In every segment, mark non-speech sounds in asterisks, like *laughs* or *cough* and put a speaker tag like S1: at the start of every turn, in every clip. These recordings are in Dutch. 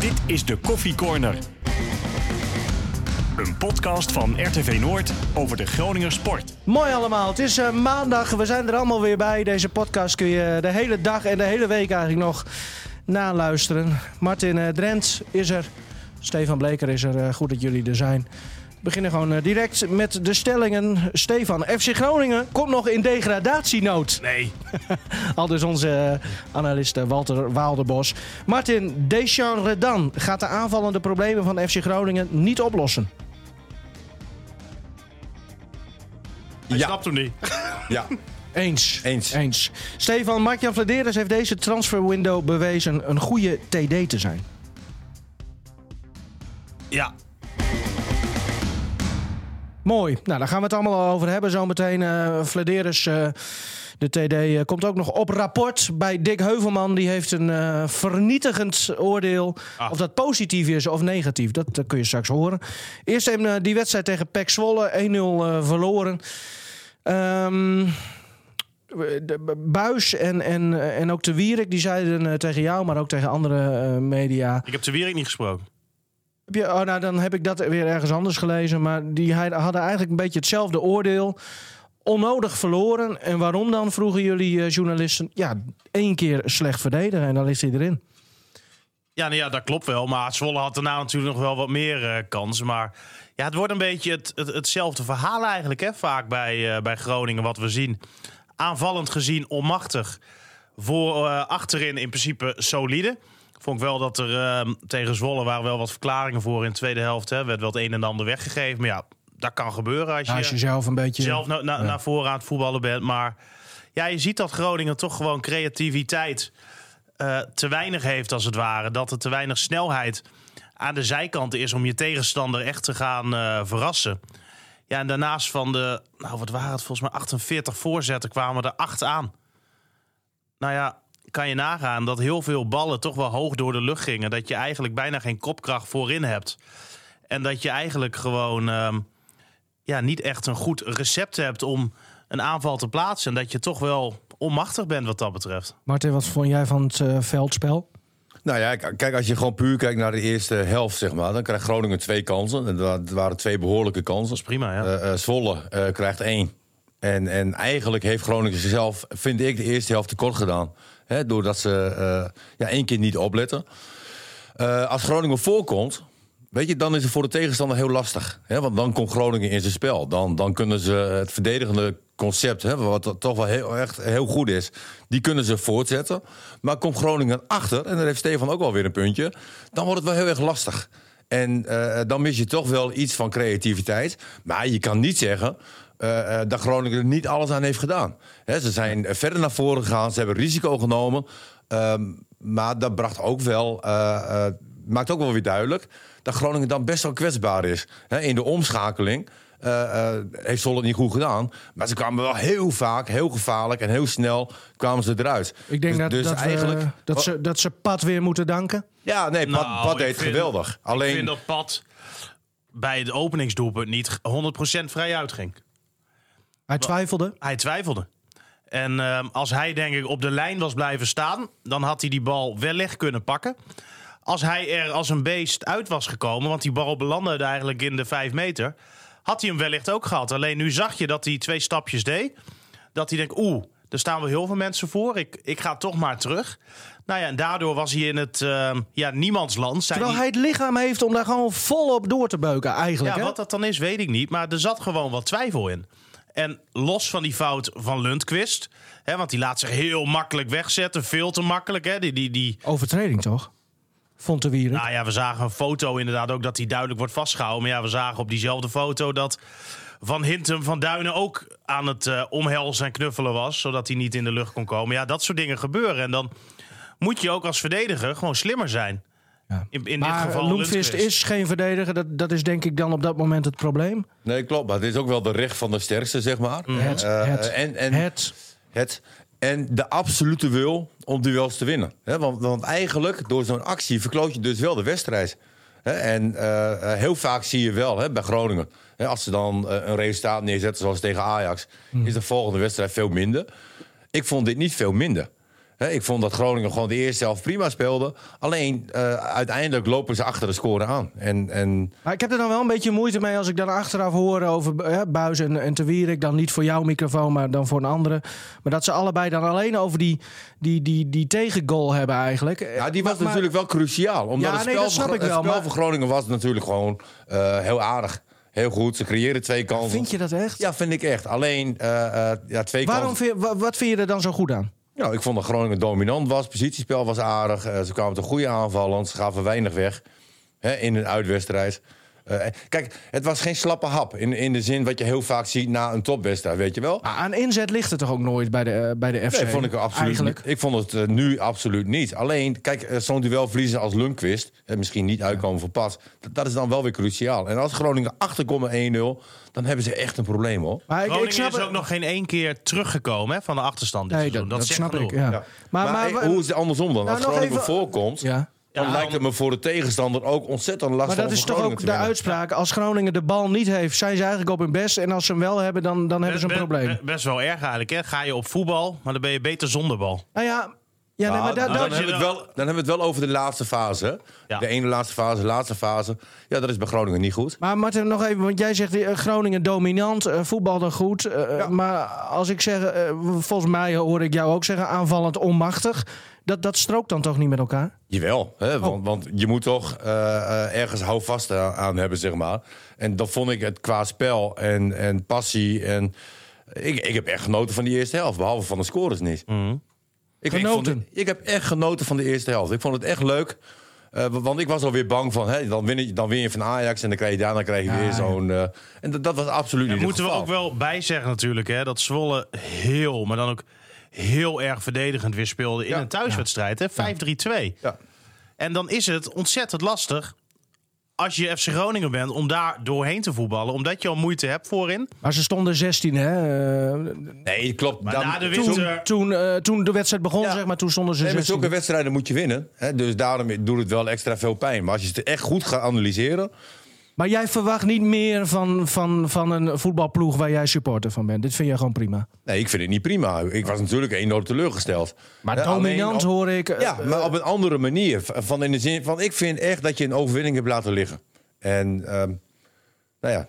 S1: Dit is de Koffie Corner. Een podcast van RTV Noord over de Groninger sport.
S2: Mooi allemaal. Het is eh, maandag. We zijn er allemaal weer bij. Deze podcast kun je de hele dag en de hele week eigenlijk nog naluisteren. Martin eh, Drent is er. Stefan Bleker is er. Eh, goed dat jullie er zijn. We beginnen gewoon eh, direct met de stellingen. Stefan, FC Groningen komt nog in degradatienood.
S1: Nee.
S2: Al dus onze eh, analist eh, Walter Waalderbos. Martin Deschamps Redan gaat de aanvallende problemen van FC Groningen niet oplossen.
S1: Hij
S3: Ja.
S1: snapt hem niet.
S3: Ja,
S2: Eens.
S3: Eens.
S2: Eens. Stefan, Mark-Jan Vladeres heeft deze transferwindow bewezen een goede TD te zijn.
S1: Ja.
S2: Mooi. Nou, daar gaan we het allemaal al over hebben zometeen. Eh Vladeres, eh, de TD, eh, komt ook nog op rapport bij Dick Heuvelman. Die heeft een eh, vernietigend oordeel.
S1: Ah.
S2: Of dat positief is of negatief, dat eh, kun je straks horen. Eerst even eh, die wedstrijd tegen PEC Zwolle. 1-0 eh, verloren. Ehm, we- de- B- Buis en, en, eh, en ook de Wierik, die zeiden eh, tegen jou, maar ook tegen andere eh, media...
S1: Ik heb de Wierik niet gesproken.
S2: Heb je- oh, nou, dan heb ik dat weer ergens anders gelezen. Maar die hij- hadden eigenlijk een beetje hetzelfde oordeel. Onnodig verloren. En waarom dan, vroegen jullie eh, journalisten. Ja, één keer slecht verdedigen en dan ligt hij erin.
S1: Ja, nou ja, dat klopt wel. Maar Zwolle had daarna natuurlijk nog wel wat meer eh, kansen. Maar ja, het wordt een beetje het, het- hetzelfde verhaal eigenlijk. Hè? Vaak bij, eh, bij Groningen wat we zien. Aanvallend gezien onmachtig. Voor eh, achterin in principe solide. Vond ik wel dat er eh, tegen Zwolle waren wel wat verklaringen voor in de tweede helft. Hè? Werd wel het een en ander weggegeven. Maar ja, dat kan gebeuren als je,
S2: Nou, als je zelf een beetje...
S1: zelf nou- na, na, naar voren aan het voetballen bent. Maar ja, je ziet dat Groningen toch gewoon creativiteit eh, te weinig heeft, als het ware. Dat er te weinig snelheid aan de zijkant is om je tegenstander echt te gaan eh, verrassen. Ja, en daarnaast van de, nou wat waren het volgens mij, 48 voorzetten kwamen er 8 aan. Nou ja, kan je nagaan dat heel veel ballen toch wel hoog door de lucht gingen. Dat je eigenlijk bijna geen kopkracht voorin hebt. En dat je eigenlijk gewoon ehm, ja, niet echt een goed recept hebt om een aanval te plaatsen. En dat je toch wel onmachtig bent wat dat betreft.
S2: Martin, wat vond jij van het eh, veldspel?
S3: nou ja, k- kijk, als je gewoon puur kijkt naar de eerste helft, zeg maar, dan krijgt Groningen twee kansen. En dat wa- waren twee behoorlijke kansen.
S1: Dat is prima, ja.
S3: Eh, eh, Zwolle eh, krijgt één. En, en eigenlijk heeft Groningen zichzelf, vind ik, de eerste helft tekort gedaan. Hè, doordat ze eh, ja, één keer niet opletten. Eh, als Groningen voorkomt, weet je, dan is het voor de tegenstander heel lastig. Hè, want dan komt Groningen in zijn spel. Dan, dan kunnen ze het verdedigende concept, hè, wat toch wel heel, echt heel goed is, die kunnen ze voortzetten. Maar komt Groningen achter, en daar heeft Stefan ook wel weer een puntje, dan wordt het wel heel erg lastig. En eh, dan mis je toch wel iets van creativiteit. Maar je kan niet zeggen eh, eh, dat Groningen er niet alles aan heeft gedaan. Hè, ze zijn verder naar voren gegaan, ze hebben risico genomen. Ehm, maar dat bracht ook wel, eh, eh, maakt ook wel weer duidelijk dat Groningen dan best wel kwetsbaar is. Hè, in de omschakeling eh, eh, heeft Zwolle het niet goed gedaan. Maar ze kwamen wel heel vaak, heel gevaarlijk en heel snel kwamen ze eruit.
S2: Ik denk
S3: Dus-
S2: dat,
S3: dus
S2: dat, we-
S3: eigenlijk.
S2: dat, ze, dat ze Pat weer moeten danken.
S3: Ja, nee, Pat,
S1: Nou,
S3: Pat
S1: ik
S3: deed het
S1: vind-
S3: geweldig.
S1: Ik
S3: Alleen
S1: vind dat Pat bij het openingsdoelpunt niet 100% vrij uitging.
S2: Hij twijfelde.
S1: Hij twijfelde. En ehm, als hij denk ik op de lijn was blijven staan, dan had hij die bal wellicht kunnen pakken. Als hij er als een beest uit was gekomen, want die bal belandde eigenlijk in de vijf meter, had hij hem wellicht ook gehad. Alleen nu zag je dat hij twee stapjes deed. Dat hij denkt, oeh, er staan wel heel veel mensen voor. Ik, ik ga toch maar terug. Nou ja, en daardoor was hij in het ehm, ja, niemandsland. Zijn
S2: Terwijl
S1: die-
S2: hij het lichaam heeft om daar gewoon volop door te beuken eigenlijk.
S1: ja,
S2: hè?
S1: wat dat dan is, weet ik niet. Maar er zat gewoon wat twijfel in. En los van die fout van Lundqvist... Hè, want die laat zich heel makkelijk wegzetten. Veel te makkelijk. Hè, die, die, die,
S2: Overtreding toch? Vond de Wierik.
S1: nou ja, we zagen een foto inderdaad ook dat hij duidelijk wordt vastgehouden. Maar ja, we zagen op diezelfde foto dat Van Hintem van Duinen ook aan het eh, omhelzen en knuffelen was. Zodat hij niet in de lucht kon komen. Ja, dat soort dingen gebeuren. En dan moet je ook als verdediger gewoon slimmer zijn.
S2: Ja.
S1: In, in dit
S2: maar
S1: geval
S2: Loemvist
S1: Lundqvist.
S2: is geen verdediger. Dat, dat is denk ik dan op dat moment het probleem.
S3: Nee, klopt. Maar het is ook wel de recht van de sterkste, zeg maar.
S2: Mm. Het,
S3: Eh,
S2: het,
S3: en, en, het.
S2: het.
S3: En de absolute wil om duels te winnen. Hè, want, want eigenlijk, door zo'n actie, verkloot je dus wel de wedstrijd. Hè, en eh, eh, heel vaak zie je wel hè, bij Groningen. Hè, als ze dan eh, een resultaat
S2: Mm.
S3: neerzetten, zoals tegen Ajax, is de volgende wedstrijd veel minder. Ik vond dit niet veel minder. Hè, ik vond dat Groningen gewoon de eerste helft prima speelde. Alleen eh, uiteindelijk lopen ze achter de score aan. En, en
S2: Maar ik heb er dan wel een beetje moeite mee als ik dan achteraf hoor over eh, Buis en, en Te Wierik. Dan niet voor jouw microfoon, maar dan voor een andere. Maar dat ze allebei dan alleen over die, die, die, die tegengoal hebben eigenlijk.
S3: ja, die
S2: Eh, Maar-
S3: was
S2: maar-
S3: natuurlijk wel cruciaal. Omdat
S2: Ja,
S3: het
S2: nee,
S3: spel,
S2: dat snap
S3: van,
S2: ik
S3: het
S2: wel,
S3: spel
S2: maar-
S3: van Groningen was natuurlijk gewoon eh, heel aardig. Heel goed, ze creëren twee kansen.
S2: Vind je dat echt?
S3: Ja, vind ik echt. Alleen eh, eh, ja, twee
S2: Waarom
S3: kansen.
S2: vind, je- wa- wat vind je er dan zo goed aan?
S3: Nou, ik vond dat Groningen dominant was. Positiespel was aardig. Eh, ze kwamen tot goede aanvallen. Ze gaven weinig weg hè, in een uitwedstrijd. Eh, kijk, het was geen slappe hap. In, in de zin wat je heel vaak ziet na een topwedstrijd, weet je wel?
S2: Maar Ah, aan inzet ligt het toch ook nooit bij de, eh, bij de FC?
S3: Nee, vond ik, er absoluut
S2: Eigenlijk.
S3: niet- ik vond het eh, nu absoluut niet. Alleen, kijk, eh, zo'n duel verliezen als Lundqvist... en misschien niet uitkomen voor pas, dat, dat is dan wel weer cruciaal. En als Groningen achterkomt met 1-0, dan hebben ze echt een probleem, hoor.
S2: Maar ik, ik
S1: Groningen
S2: snap
S1: is ook
S2: het.
S1: nog geen één keer teruggekomen hè, van de achterstand dit
S2: Nee, dat,
S1: seizoen.
S2: dat,
S1: zegt
S2: snap
S1: genoeg.
S2: ik. Ja.
S3: Ja.
S2: Maar,
S3: Maar,
S2: maar, Nou,
S3: eh, hoe is het andersom dan? als
S2: nog
S3: Groningen
S2: even-
S3: voorkomt...
S2: ja.
S1: Ja,
S3: dan lijkt
S1: dan-
S3: het me voor de tegenstander ook ontzettend lastig.
S2: Maar dat
S3: om
S2: is
S3: van
S2: toch
S3: Groningen
S2: ook
S3: te
S2: de
S3: winnen.
S2: uitspraak. Als Groningen de bal niet heeft, zijn ze eigenlijk op hun best. En als ze hem wel hebben, dan, dan hebben ze een
S1: Be- be-
S2: probleem.
S1: be- best wel erg eigenlijk. Hè? Ga je op voetbal, maar dan ben je beter zonder bal.
S2: Nou ja, ja nee, maar da-
S3: Ah,
S2: dat-
S3: dan, hebben we het wel, dan hebben we het wel over de laatste fase. hè?
S1: Ja.
S3: De ene laatste fase, laatste fase. Ja, dat is bij Groningen niet goed.
S2: Maar Martin, nog even, want jij zegt eh, Groningen dominant, eh, voetbalde goed. eh, Maar als ik zeg, eh, volgens mij hoor ik jou ook zeggen, aanvallend onmachtig. Dat, dat strookt dan toch niet met elkaar?
S3: Jawel,
S1: Oh.
S3: hè? Want, want je moet toch eh, eh, ergens houvast aan, aan hebben, zeg maar. En dat vond ik het qua spel en, en passie. En, ik, ik heb echt genoten van die eerste helft, behalve van de scores niet.
S1: Mhm.
S3: Ik, ik, vond,
S2: Genoten.
S3: ik heb echt genoten van de eerste helft. Ik vond het echt leuk. eh, wa- want ik was alweer bang van, hè, dan, win je, dan win je van Ajax en dan krijg je daarna krijg je weer zo'n... eh, en dat, dat was absoluut niet
S1: Daar
S3: het
S1: moeten we
S3: geval.
S1: ook wel bij zeggen natuurlijk hè, dat Zwolle heel, maar dan ook heel erg verdedigend weer speelde in
S3: Ja.
S1: een thuiswedstrijd. hè, 5-3-2.
S3: Ja.
S1: En dan is het ontzettend lastig als je FC Groningen bent om daar doorheen te voetballen. Omdat je al moeite hebt voorin.
S2: Maar ze stonden 16, hè? eh,
S3: Nee, klopt.
S1: Maar na de
S3: Toen-
S1: winter...
S2: toen, eh, toen de wedstrijd begon,
S3: Ja.
S2: zeg maar, toen stonden ze
S3: Nee, met
S2: 16.
S3: zulke wedstrijden moet je winnen. Hè? Dus daarom doet het wel extra veel pijn. Maar als je het echt goed gaat analyseren.
S2: Maar jij verwacht niet meer van, van, van een voetbalploeg waar jij supporter van bent. Dit vind jij gewoon prima.
S3: Nee, ik vind het niet prima. Ik was natuurlijk enorm teleurgesteld.
S2: Maar
S3: Hè,
S2: dominant
S3: Eh, alleen op-
S2: hoor ik. eh,
S3: Ja, maar op een andere manier. V- Van in de zin van, ik vind echt dat je een overwinning hebt laten liggen. En, ehm, nou ja,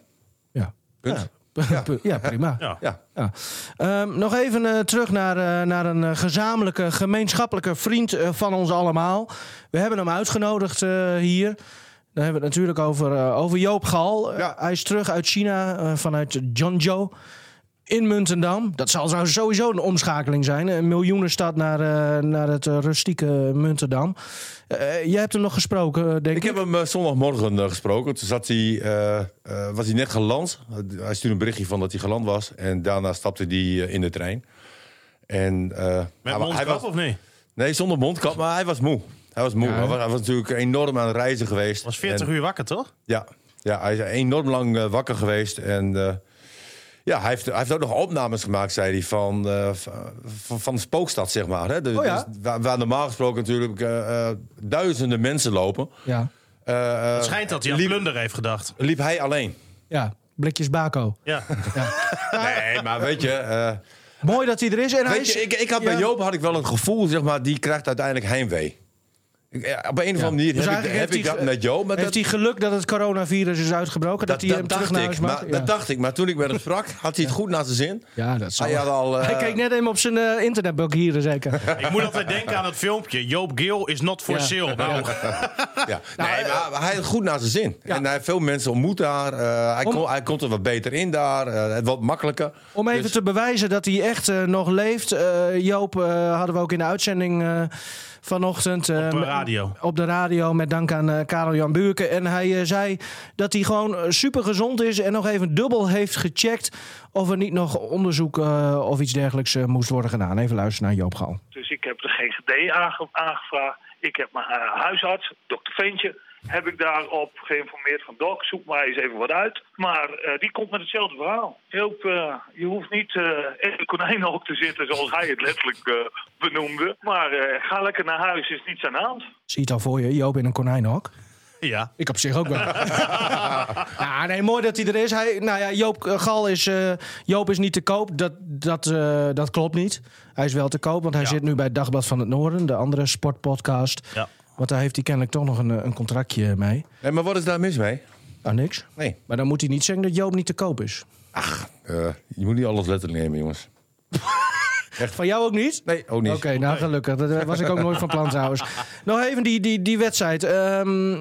S2: ja.
S3: punt.
S2: *laughs* Ja. prima.
S1: Ja.
S3: Ja.
S2: Ja. Ehm, nog even eh, terug naar, eh, naar een eh, gezamenlijke, gemeenschappelijke vriend eh, van ons allemaal. We hebben hem uitgenodigd eh, hier. Dan hebben we het natuurlijk over, eh, over Joop Gal.
S3: Ja.
S2: hij is terug uit China, eh, vanuit Jonjo. In Muntendam. Dat zal trouwens sowieso een omschakeling zijn. Een miljoenenstad naar, eh, naar het eh, rustieke Muntendam. Eh, jij hebt hem nog gesproken, eh, denk ik.
S3: Ik heb hem eh, zondagmorgen eh, gesproken. Toen zat hij, eh, eh, was hij net geland. hij stuurde een berichtje van dat hij geland was. En daarna stapte hij eh, in de trein. En, eh,
S1: Met
S3: hij wa- hij
S1: mondkap
S3: was,
S1: of niet?
S3: Nee, zonder mondkap, maar hij was moe. Hij was moe.
S2: Ja, hè?
S3: hij, was, hij was natuurlijk enorm aan het reizen geweest.
S1: was 40
S3: En-
S1: uur wakker, toch?
S3: Ja, ja, hij is enorm lang eh, wakker geweest. En eh, ja, hij heeft, hij heeft ook nog opnames gemaakt, zei hij, van, eh, v- van, van de spookstad, zeg maar. Hè? Dus,
S2: Oh ja?
S3: dus waar, waar normaal gesproken natuurlijk eh, eh, duizenden mensen lopen.
S2: Ja.
S3: eh, eh,
S1: Het schijnt dat hij aan
S3: liep,
S1: plunder heeft gedacht.
S3: liep hij alleen.
S2: ja, blikjes Baco.
S1: Ja.
S3: Nee, maar *laughs* weet je... eh,
S2: Mooi dat hij er is. En hij
S3: Weet
S2: Nou, is...
S3: je, ik, ik had bij
S2: Ja.
S3: Joop had ik wel een gevoel, zeg maar, die krijgt uiteindelijk heimwee. Ik- eh, op een of andere manier
S2: Dus
S3: heb, ik,
S2: eigenlijk
S3: heb
S2: heeft
S3: ik
S2: hij
S3: dat
S2: ge-
S3: met Joop. Maar
S2: Heeft
S3: dat,
S2: hij geluk dat het coronavirus is uitgebroken? Dat, hij hem terug naar huis
S3: ik,
S2: mag?
S3: maar,
S2: Ja.
S3: dat dacht ik. Maar toen ik met hem sprak, had hij het goed naar zijn zin.
S2: Ja, dat zal
S3: Hij had
S2: wel.
S3: al... eh,
S2: Hij keek net even op zijn eh, internetboek hier,
S3: *laughs*
S2: zeker.
S1: Ik moet altijd denken aan het filmpje. Joop Geel is not for
S2: Ja.
S1: sale. Nou,
S3: ja. Nee, maar hij had het goed naar zijn zin.
S2: Nou, eh, Ja.
S3: En hij heeft veel mensen ontmoet daar. eh, hij,
S2: Om-
S3: kon- hij komt er wat beter in daar. eh, het wat makkelijker.
S2: Om even
S3: Dus-
S2: te bewijzen dat hij echt eh, nog leeft. eh, Joop eh, hadden we ook in de uitzending eh, vanochtend. eh,
S1: Op de
S2: met-
S1: radio.
S2: Op de radio, met dank aan eh, Karel-Jan Buurken. En hij eh, zei dat hij gewoon super gezond is. En nog even dubbel heeft gecheckt of er niet nog onderzoek eh, of iets dergelijks eh, moest worden gedaan. Even luisteren naar Joop Gal.
S4: Dus ik heb de GGD aange- aangevraagd. Ik heb mijn eh, huisarts, dokter Veentje, heb ik daarop geïnformeerd van... Doc, zoek maar eens even wat uit. Maar eh, die komt met hetzelfde verhaal. Joop, eh, je hoeft niet eh in een konijnenhok te zitten zoals hij het letterlijk eh, benoemde. Maar eh, ga lekker naar huis, is niets aan de hand.
S2: Zie je het al voor je, Joop in een konijnenhok.
S1: *laughs* Ja.
S2: Ik op zich ook wel. ja, nee, mooi dat hij er is. Hij, nou ja, Joop eh, Gal is, eh, Joop is niet te koop. Dat, dat, eh, dat klopt niet. Hij is wel te koop, want hij
S1: Ja.
S2: zit nu bij het Dagblad van het Noorden, de andere sportpodcast.
S1: Ja.
S2: Want daar heeft hij kennelijk toch nog een, eh, een contractje mee.
S3: Nee, maar wat is daar mis mee?
S2: Ah, niks.
S3: Nee.
S2: Maar dan moet hij niet zeggen dat Joop niet te koop is.
S3: Eh, je moet niet alles letterlijk nemen, jongens.
S2: Van jou ook niet?
S3: Nee, ook niet.
S2: Oké, nou gelukkig. Dat eh, was ik ook nooit van plan trouwens. Nog even die, die, die wedstrijd. Ehm,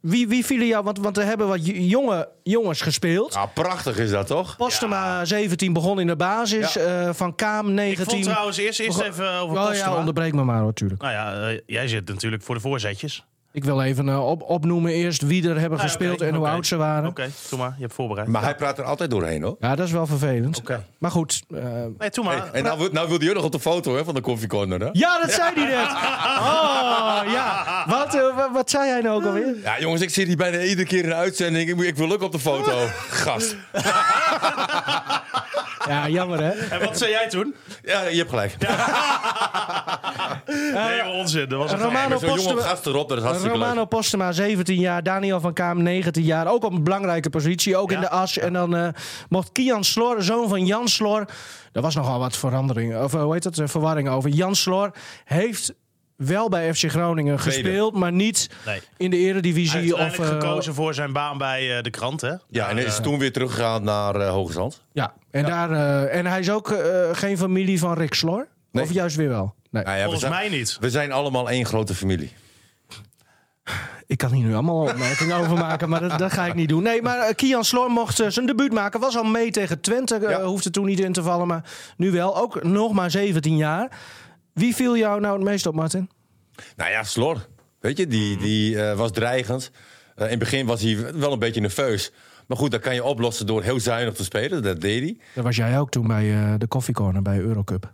S2: wie, wie vielen jou? Want, want er hebben wat j- jonge jongens gespeeld.
S3: Ja, Ah, prachtig is dat toch?
S2: Postema 17 begon in de basis. eh, van Kaam
S1: Ik
S2: 19.
S1: vond trouwens eerst, eerst even over
S2: oh,
S1: Postema.
S2: ja, onderbreek me maar natuurlijk.
S1: Nou ja, eh, jij zit natuurlijk voor de voorzetjes.
S2: Ik wil even eh, op, opnoemen eerst wie er hebben
S1: Ah,
S2: gespeeld
S1: oké,
S2: en hoe
S1: oké.
S2: oud ze waren.
S1: Oké, doe maar. Je hebt voorbereid.
S3: Maar hij praat er altijd doorheen, hoor.
S2: Ja, dat is wel vervelend.
S1: Oké.
S2: Maar goed. eh,
S1: Nee, doe maar.
S3: Hey, en nou, wil- nou wilde je nog op de foto hè, van de koffiecorner, hè?
S2: ja, dat zei
S1: *laughs*
S2: hij net. Oh, ja. Wat, eh, wa- wat zei hij nou ook alweer?
S3: Ja, jongens, ik zit hier bijna iedere keer in de uitzending. Ik, moet- ik wil ook op de foto. Gast.
S2: Ja, jammer hè.
S1: En wat zei jij toen?
S3: Ja, je hebt gelijk.
S2: Eh,
S1: Nee, onzin. Dat was een
S2: Romano-
S1: geheim.
S3: Met zo'n jonge
S2: Postema-
S3: gast erop, dat is hartstikke leuk.
S2: Romano Postema, 17 jaar. Daniel van Kaam, 19 jaar. Ook op een belangrijke positie, ook
S1: Ja.
S2: in de as. En dan eh, mocht Kian Slor, zoon van Jan Slor... Er was nogal wat verandering, of eh, hoe heet dat, eh, verwarring over. Jan Slor heeft wel bij FC Groningen gespeeld, maar niet
S1: Nee.
S2: in de
S1: Hij
S2: eredivisie.
S1: heeft
S2: Of,
S1: uiteindelijk
S2: eh,
S1: gekozen voor zijn baan bij eh, de krant, hè?
S3: Ja, en hij is toen weer teruggegaan naar eh Hoge Zand.
S2: ja. En, Daar, eh, en hij is ook eh, geen familie van Rick Slor?
S3: Nee.
S2: Of juist weer wel? Nee.
S3: Nou ja, we,
S1: Volgens
S3: zijn,
S1: mij niet.
S3: we zijn allemaal één grote familie.
S2: Ik kan hier nu allemaal opmerkingen *laughs* over maken, maar dat, dat ga ik niet doen. Nee, maar eh, Kian Sloor mocht eh, zijn debuut maken. Was al mee tegen Twente, eh,
S3: Ja.
S2: hoefde toen niet in te vallen, maar nu wel. Ook nog maar 17 jaar. Wie viel jou nou het meest op, Martin?
S3: Nou ja, Slor. Weet je, die, die eh, was dreigend. Eh, in het begin was hij wel een beetje nerveus. Maar goed, dat kan je oplossen door heel zuinig te spelen. Dat deed hij.
S2: Dat was jij ook toen bij eh, de koffiecorner bij Eurocup.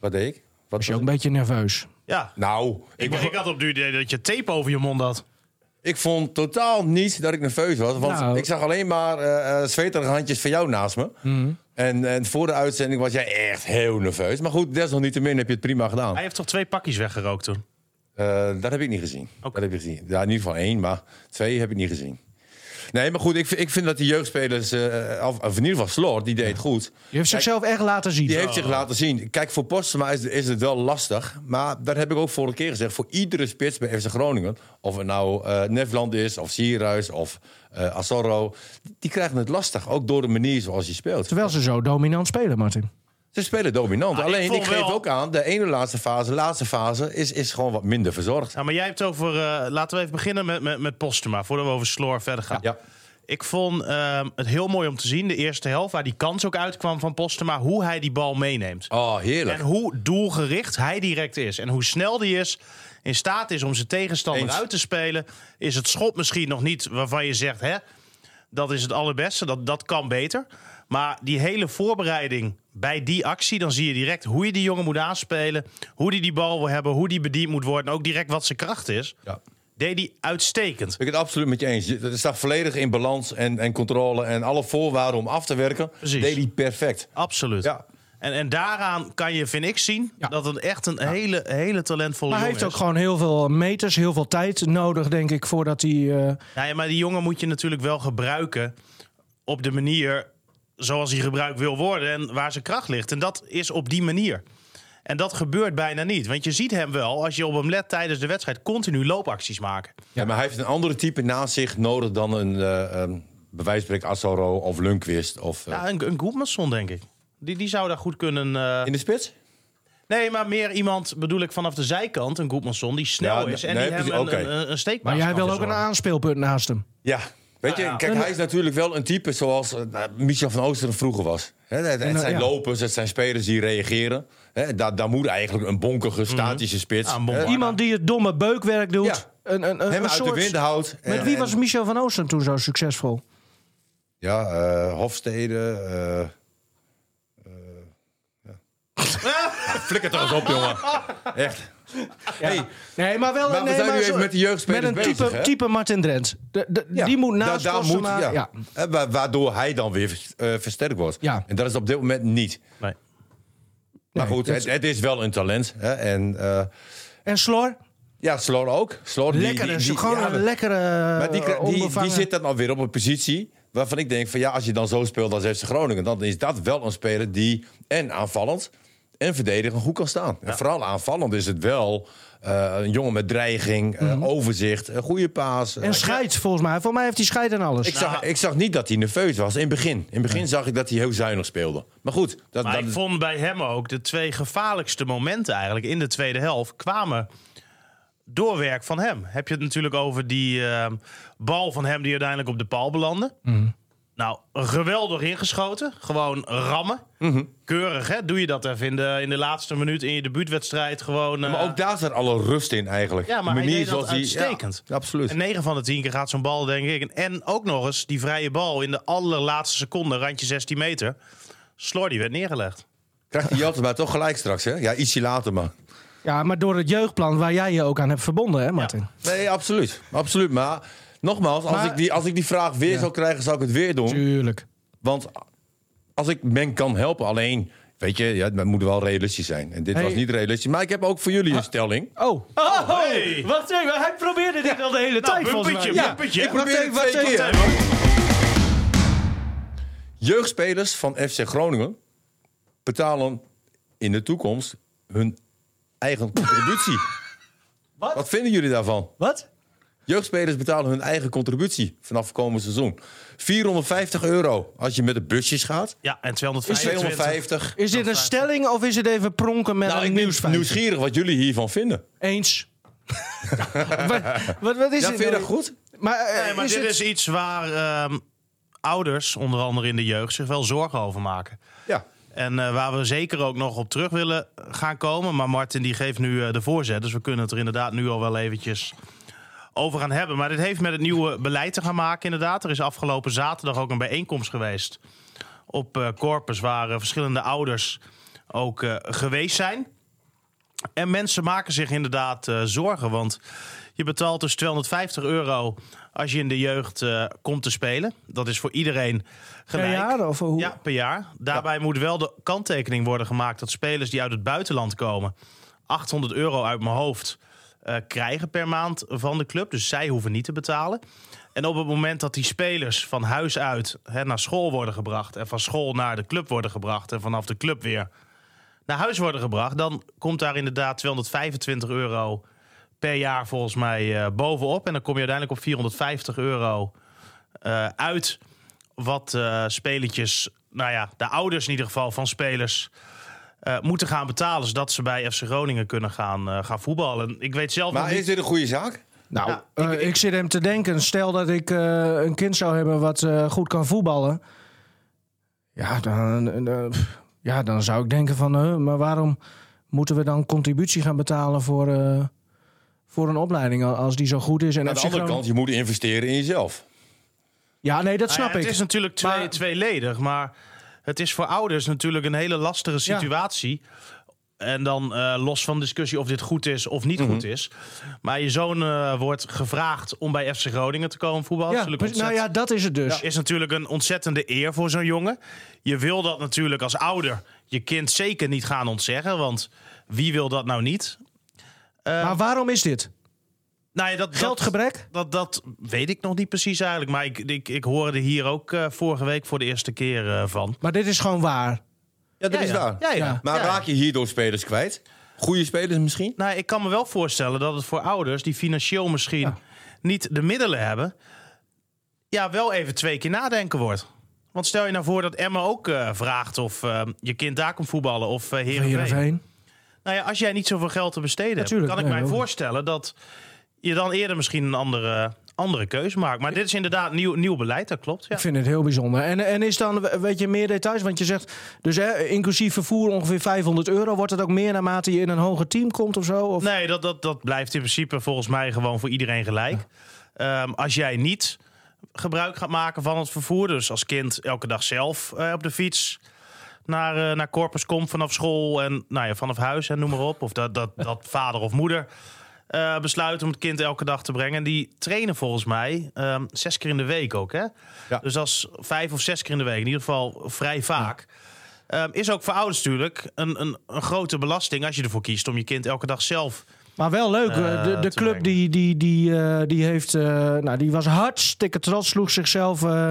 S3: Wat deed ik? Wat
S2: Was je ook
S3: was
S2: een beetje nerveus?
S1: Ja.
S3: ik? Nou, ik,
S1: Ik,
S3: was-
S1: ik had op het idee dat je tape over je mond had.
S3: ik vond totaal niet dat ik nerveus was. Want
S2: Nou.
S3: ik zag alleen maar eh, eh, zweterige handjes van jou naast me. En, en voor de uitzending was jij echt heel nerveus. Maar goed, desalniettemin heb je het prima gedaan.
S1: Hij heeft toch twee pakjes weggerookt toen?
S3: Eh, dat heb ik niet gezien.
S1: Oké.
S3: Dat heb ik gezien. Ja, in ieder geval één, maar twee heb ik niet gezien. Nee, maar goed, ik, vind- ik vind dat die jeugdspelers, eh, of, of in ieder geval Sloor, die deed het goed.
S2: Je heeft zichzelf echt laten zien.
S3: Die heeft zich laten zien. Kijk, voor Postema is, is het wel lastig. Maar dat heb ik ook vorige keer gezegd. Voor iedere spits bij FC Groningen, of het nou eh Nefland is, of Sierhuis, of eh Azorro, die krijgen het lastig. Ook door de manier zoals je speelt.
S2: Terwijl ze zo dominant spelen, Martin.
S3: Ze spelen dominant.
S1: Ah, ik
S3: Alleen, ik,
S1: vond
S3: geef
S1: wel-
S3: ook aan, de ene laatste fase, laatste fase, is, is gewoon wat minder verzorgd.
S1: Ja, maar jij hebt over... eh, laten we even beginnen met, met, met Postuma, voordat we over Sloor verder gaan.
S3: Ja.
S1: Ik vond ehm, het heel mooi om te zien, de eerste helft, waar die kans ook uitkwam van Postuma, hoe hij die bal meeneemt.
S3: Oh, heerlijk.
S1: En hoe doelgericht hij direct is. En hoe snel die is, in staat is om zijn tegenstander
S3: Eens.
S1: uit te spelen. Is het schot misschien nog niet waarvan je zegt, hè, dat is het allerbeste, dat, dat kan beter. Maar die hele voorbereiding bij die actie, dan zie je direct hoe je die jongen moet aanspelen. Hoe die die bal wil hebben, hoe die bediend moet worden. En ook direct wat zijn kracht is.
S3: Ja.
S1: Deed hij uitstekend.
S3: Ik ben het absoluut met je eens. Je- Het staat volledig in balans en, en controle. En alle voorwaarden om af te werken,
S1: Precies.
S3: deed hij perfect.
S1: Absoluut.
S3: Ja.
S1: En, en daaraan kan je, vind ik, zien
S2: Ja.
S1: dat het echt een hele, hele talentvolle
S2: Maar hij heeft
S1: jongen
S2: ook
S1: is.
S2: gewoon heel veel meters, heel veel tijd nodig, denk ik, voordat hij... eh,
S1: Nou ja, maar die jongen moet je natuurlijk wel gebruiken op de manier zoals hij gebruikt wil worden en waar zijn kracht ligt. En dat is op die manier. En dat gebeurt bijna niet. Want je ziet hem wel, als je op hem let tijdens de wedstrijd, continu loopacties maken.
S3: Ja, maar hij heeft een andere type naast zich nodig dan een eh um, bewijsbrek Assoro of Lundqvist. Of, eh,
S1: Ja, een, een Goedmanson, denk ik. Die, die zou daar goed kunnen. eh,
S3: in de spits?
S1: Nee, maar meer iemand bedoel ik vanaf de zijkant, een Goedmanson, die snel
S3: Ja,
S1: is en
S3: nee,
S1: die hem
S3: precies,
S1: een,
S3: oké.
S1: een, een, een steekpaas
S2: maar jij
S1: kan
S2: wil ook een
S1: verzorgen.
S2: aanspeelpunt naast hem.
S3: Ja. Weet je,
S1: Ja, ja.
S3: kijk, hij is natuurlijk wel een type zoals eh, nou, Michel van Oosteren vroeger was. Hè, het, het
S2: eh,
S3: zijn
S2: ja.
S3: lopers, het zijn spelers die reageren. Hè, daar, daar moet eigenlijk een bonkige, statische spits.
S1: Ja, Ah, een bomber.
S3: hè,
S2: Iemand die het domme beukwerk doet.
S3: Ja.
S2: Een, een, een,
S3: hem
S2: een
S3: uit de
S2: soort...
S3: wind houdt.
S2: Met
S3: En-
S2: wie
S3: en-
S2: was Michel van Oosten toen zo succesvol?
S3: Ja, eh, Hofstede. eh, eh, ja. *laughs* Flikker toch eens op, jongen. Echt. Hey,
S2: Nee, maar wel
S3: Maar we
S2: nee,
S3: zijn
S2: zo-
S3: nu even met de jeugdspelers
S2: Met een type,
S3: bezig, hè?
S2: type Martin Drent. De- de-
S3: ja,
S2: Die moet
S3: da-
S2: naast
S3: daar
S2: Postema-
S3: moet- ja. Eh, wa- Waardoor hij dan weer vers- eh, versterkt wordt.
S2: Ja.
S3: En dat is op dit moment niet.
S1: Nee.
S3: Maar goed,
S2: dat-
S3: het, het is wel een talent. Hè? En eh,
S2: En Slor?
S3: Ja, Sloan ook. Sloan, die-
S2: Lekker,
S3: die-
S2: is
S3: die-
S2: gewoon
S3: ja,
S2: een lekkere.
S3: Maar die,
S1: Eh,
S3: kra- die, die
S2: onbevangen-
S3: zit dan alweer op een positie waarvan ik denk van ja, als je dan zo speelt als FC Groningen, dan is dat wel een speler die en aanvallend en verdedigend goed kan staan. En vooral aanvallend is het wel eh, een jongen met dreiging, eh,
S1: Mhm.
S3: overzicht, een goede paas. Eh,
S2: En scheidt volgens mij. Voor mij heeft hij scheid en alles.
S3: ik, zag, ik zag niet dat hij nerveus was in het begin. In het begin zag ik dat hij heel zuinig speelde. Maar goed, dat,
S1: Maar
S3: dat,
S1: ik vond bij hem ook de twee gevaarlijkste momenten eigenlijk in de tweede helft kwamen door werk van hem. Heb je het natuurlijk over die eh, bal van hem die uiteindelijk op de paal belandde.
S3: Mhm.
S1: Nou, geweldig ingeschoten. Gewoon rammen.
S3: Mhm.
S1: Keurig, hè? Doe je dat even in de, in de laatste minuut in je debuutwedstrijd. Gewoon, eh,
S3: maar ook daar zat alle rust in eigenlijk.
S1: Ja, maar
S3: De
S1: hij deed dat
S3: zoals ja,
S1: uitstekend.
S3: absoluut.
S1: En 9 van de 10 keer gaat zo'n bal, denk ik. En ook nog eens die vrije bal in de allerlaatste seconde, randje 16 meter. Slor die werd neergelegd.
S3: Krijgt die Jaltema toch gelijk straks, hè? Ja, ietsje later maar.
S2: Ja, maar door het jeugdplan waar jij je ook aan hebt verbonden, hè, Martin?
S3: Nee, absoluut. Absoluut. Maar nogmaals, als,
S2: Maar-
S3: ik, die, als ik die vraag weer zou krijgen, zou ik het weer doen.
S2: Tuurlijk.
S3: Want als ik men kan helpen, alleen, weet je, ja, men moet wel realistisch zijn. En dit
S2: Hey.
S3: was niet realistisch. Maar ik heb ook voor jullie een stelling.
S2: Oh. oh,
S1: hey.
S2: Wacht even, hij probeerde dit al de
S3: Nou,
S2: hele tijd volgens mij.
S1: bumpertje, bumpertje.
S3: Ik probeer het
S2: Wacht
S3: twee
S2: even,
S3: keer. Jeugdspelers van FC Groningen betalen in de toekomst hun eigen contributie.
S2: Wat?
S3: Wat vinden jullie daarvan?
S2: Wat?
S3: Jeugdspelers betalen hun eigen contributie vanaf komend seizoen. 450 euro als je met de busjes gaat.
S1: Ja, en 225.
S3: 250.
S2: Is dit een stelling of is het even pronken met
S3: Nou, ik
S2: een
S3: ben
S2: nieuwsfeit?
S3: nieuwsgierig wat jullie hiervan vinden.
S2: Eens. *laughs* wat, wat, wat is
S3: Ja,
S2: dit?
S3: vind je dat
S2: nou?
S3: goed?
S2: Maar, eh,
S1: Nee, maar
S2: is
S1: dit
S2: het-
S1: is iets waar ehm, ouders, onder andere in de jeugd, zich wel zorgen over maken.
S3: Ja.
S1: En eh, waar we zeker ook nog op terug willen gaan komen. Maar Martin die geeft nu eh, de voorzet. Dus we kunnen het er inderdaad nu al wel eventjes over gaan hebben. Maar dit heeft met het nieuwe beleid te gaan maken inderdaad. Er is afgelopen zaterdag ook een bijeenkomst geweest op eh, Corpus... waar eh, verschillende ouders ook eh, geweest zijn. En mensen maken zich inderdaad eh, zorgen. Want je betaalt dus 250 euro als je in de jeugd eh, komt te spelen. Dat is voor iedereen gelijk.
S2: Per jaar of hoe?
S1: Ja, per jaar. Daarbij moet wel de kanttekening worden gemaakt dat spelers die uit het buitenland komen 800 euro uit mijn hoofd eh, krijgen per maand van de club. Dus zij hoeven niet te betalen. En op het moment dat die spelers van huis uit hè, naar school worden gebracht en van school naar de club worden gebracht en vanaf de club weer naar huis worden gebracht, dan komt daar inderdaad 225 euro per jaar volgens mij eh, bovenop. En dan kom je uiteindelijk op 450 euro eh, uit wat eh spelertjes, nou ja, de ouders in ieder geval van spelers. eh, moeten gaan betalen zodat ze bij FC Groningen kunnen gaan, eh, gaan voetballen. En Ik weet zelf nog
S3: Maar
S1: niet-
S3: is dit een goede zaak?
S2: Nou,
S1: Ja,
S2: eh, ik, zit hem te denken. Stel dat ik eh, een kind zou hebben wat eh, goed kan voetballen. Ja, dan, eh, pff, ja, dan zou ik denken van... eh, maar waarom moeten we dan contributie gaan betalen voor, eh, voor een opleiding... al- als die zo goed is? En
S3: Aan de
S2: FC
S3: andere
S2: Groningen-
S3: kant, je moet investeren in jezelf.
S2: Ja, nee, dat
S1: Nou ja,
S2: snap ik.
S1: Het is natuurlijk twee,
S2: Maar-
S1: tweeledig, maar het is voor ouders natuurlijk een hele lastige
S2: Ja.
S1: situatie. En dan eh, los van discussie of dit goed is of
S2: Mhm.
S1: niet goed is. Maar je zoon eh, wordt gevraagd om bij FC Groningen te komen voetballen.
S2: Ja,
S1: Natuurlijk
S2: precies. nou ja,
S1: ontzettend-
S2: dat is het dus.
S1: is natuurlijk een ontzettende eer voor zo'n jongen. Je wil dat natuurlijk als ouder je kind zeker niet gaan ontzeggen. Want wie wil dat nou niet?
S2: Maar waarom is dit?
S1: Nou ja, eh, dat, dat-
S2: Geldgebrek?
S1: Dat, dat weet ik nog niet precies eigenlijk. Maar ik, ik, ik hoorde hier ook eh, vorige week voor de eerste keer eh, van.
S2: Maar dit is gewoon waar.
S3: Ja, dat
S1: Ja,
S3: is
S1: ja.
S3: waar.
S1: Ja, ja.
S2: Ja.
S3: Maar
S1: Ja.
S3: raak je hierdoor spelers kwijt? Goede spelers misschien?
S1: Nou, ik kan me wel voorstellen dat het voor ouders die financieel misschien niet de middelen hebben, ja, wel even twee keer nadenken wordt. Want stel je nou voor dat Emma ook eh, vraagt of eh, je kind daar komt voetballen of eh Heerenveen.
S2: Heerenveen.
S1: Nou ja, als jij niet zoveel geld te besteden hebt,
S2: Natuurlijk,
S1: kan ik
S2: nee,
S1: mij
S2: ook niet.
S1: voorstellen dat je dan eerder misschien een andere, andere keuze maakt. Maar dit is inderdaad nieuw, nieuw beleid, dat klopt. Ja.
S2: Ik vind het heel bijzonder. En, en is dan, weet je, meer details? Want je zegt, dus hè, inclusief vervoer ongeveer 500 euro. Wordt het ook meer naarmate je in een hoger team komt of zo? Of?
S1: Nee, dat, dat, dat blijft in principe volgens mij gewoon voor iedereen gelijk. Ehm, als jij niet gebruik gaat maken van het vervoer, dus als kind elke dag zelf eh, op de fiets naar, eh, naar Corpus komt vanaf school en nou ja, vanaf huis en noem maar op. Of dat, dat, dat vader of moeder eh, besluit om het kind elke dag te brengen. En die trainen volgens mij ehm, zes keer in de week ook. Hè?
S3: Ja.
S1: Dus dat is vijf of zes keer in de week, in ieder geval vrij vaak. Ehm, is ook voor ouders natuurlijk een, een, een grote belasting als je ervoor kiest om je kind elke dag zelf
S2: Maar wel leuk.
S1: Eh,
S2: de de
S1: te
S2: club
S1: brengen.
S2: die, die, die, eh, die, heeft, eh, nou, die was hartstikke trots. Sloeg zichzelf eh,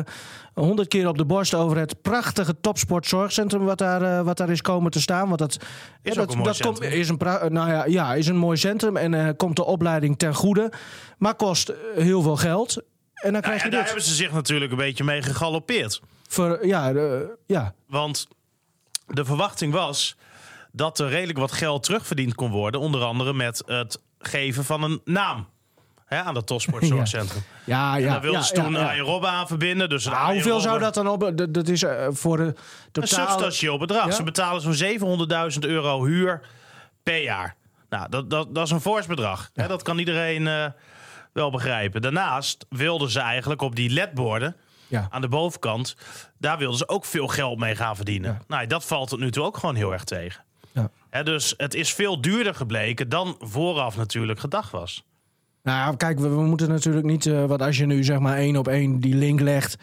S2: honderd keer op de borst over het prachtige topsportzorgcentrum. Wat daar, eh, wat daar is komen te staan. Want dat is,
S1: ook een mooi
S2: komt,
S1: centrum.
S2: is, een pra- eh, nou ja, ja, is een mooi centrum. En eh, komt de opleiding ten goede. Maar kost eh, heel veel geld. En dan krijg
S1: en
S2: je
S1: daar
S2: dit.
S1: hebben ze zich natuurlijk een beetje mee gegalopeerd.
S2: Voor, ja, eh, ja,
S1: Want de verwachting was dat er redelijk wat geld terugverdiend kon worden. Onder andere met het geven van een naam hè, aan
S2: *laughs*
S1: dat topsportzorgcentrum.
S2: ja, ja.
S1: Daar wilden
S2: ja,
S1: ze
S2: ja,
S1: toen
S2: ja.
S1: Arjen Robben aan verbinden. Dus
S2: Nou, hoeveel zou dat dan op? Dat, dat is eh, voor de
S1: Een
S2: totaal.
S1: substantieel bedrag.
S2: Ja.
S1: Ze betalen zo'n 700.000 euro huur per jaar. Nou, dat, dat, dat is een fors bedrag. Hè, dat kan iedereen eh, wel begrijpen. Daarnaast wilden ze eigenlijk op die ledborden
S2: Ja.
S1: aan de bovenkant... daar wilden ze ook veel geld mee gaan verdienen. Nou, dat valt tot nu toe ook gewoon heel erg tegen.
S2: Ja.
S1: Hè, dus het is veel duurder gebleken dan vooraf natuurlijk gedacht was.
S2: Nou ja, kijk, we, we moeten natuurlijk niet. eh want als je nu zeg maar één op één die link legt.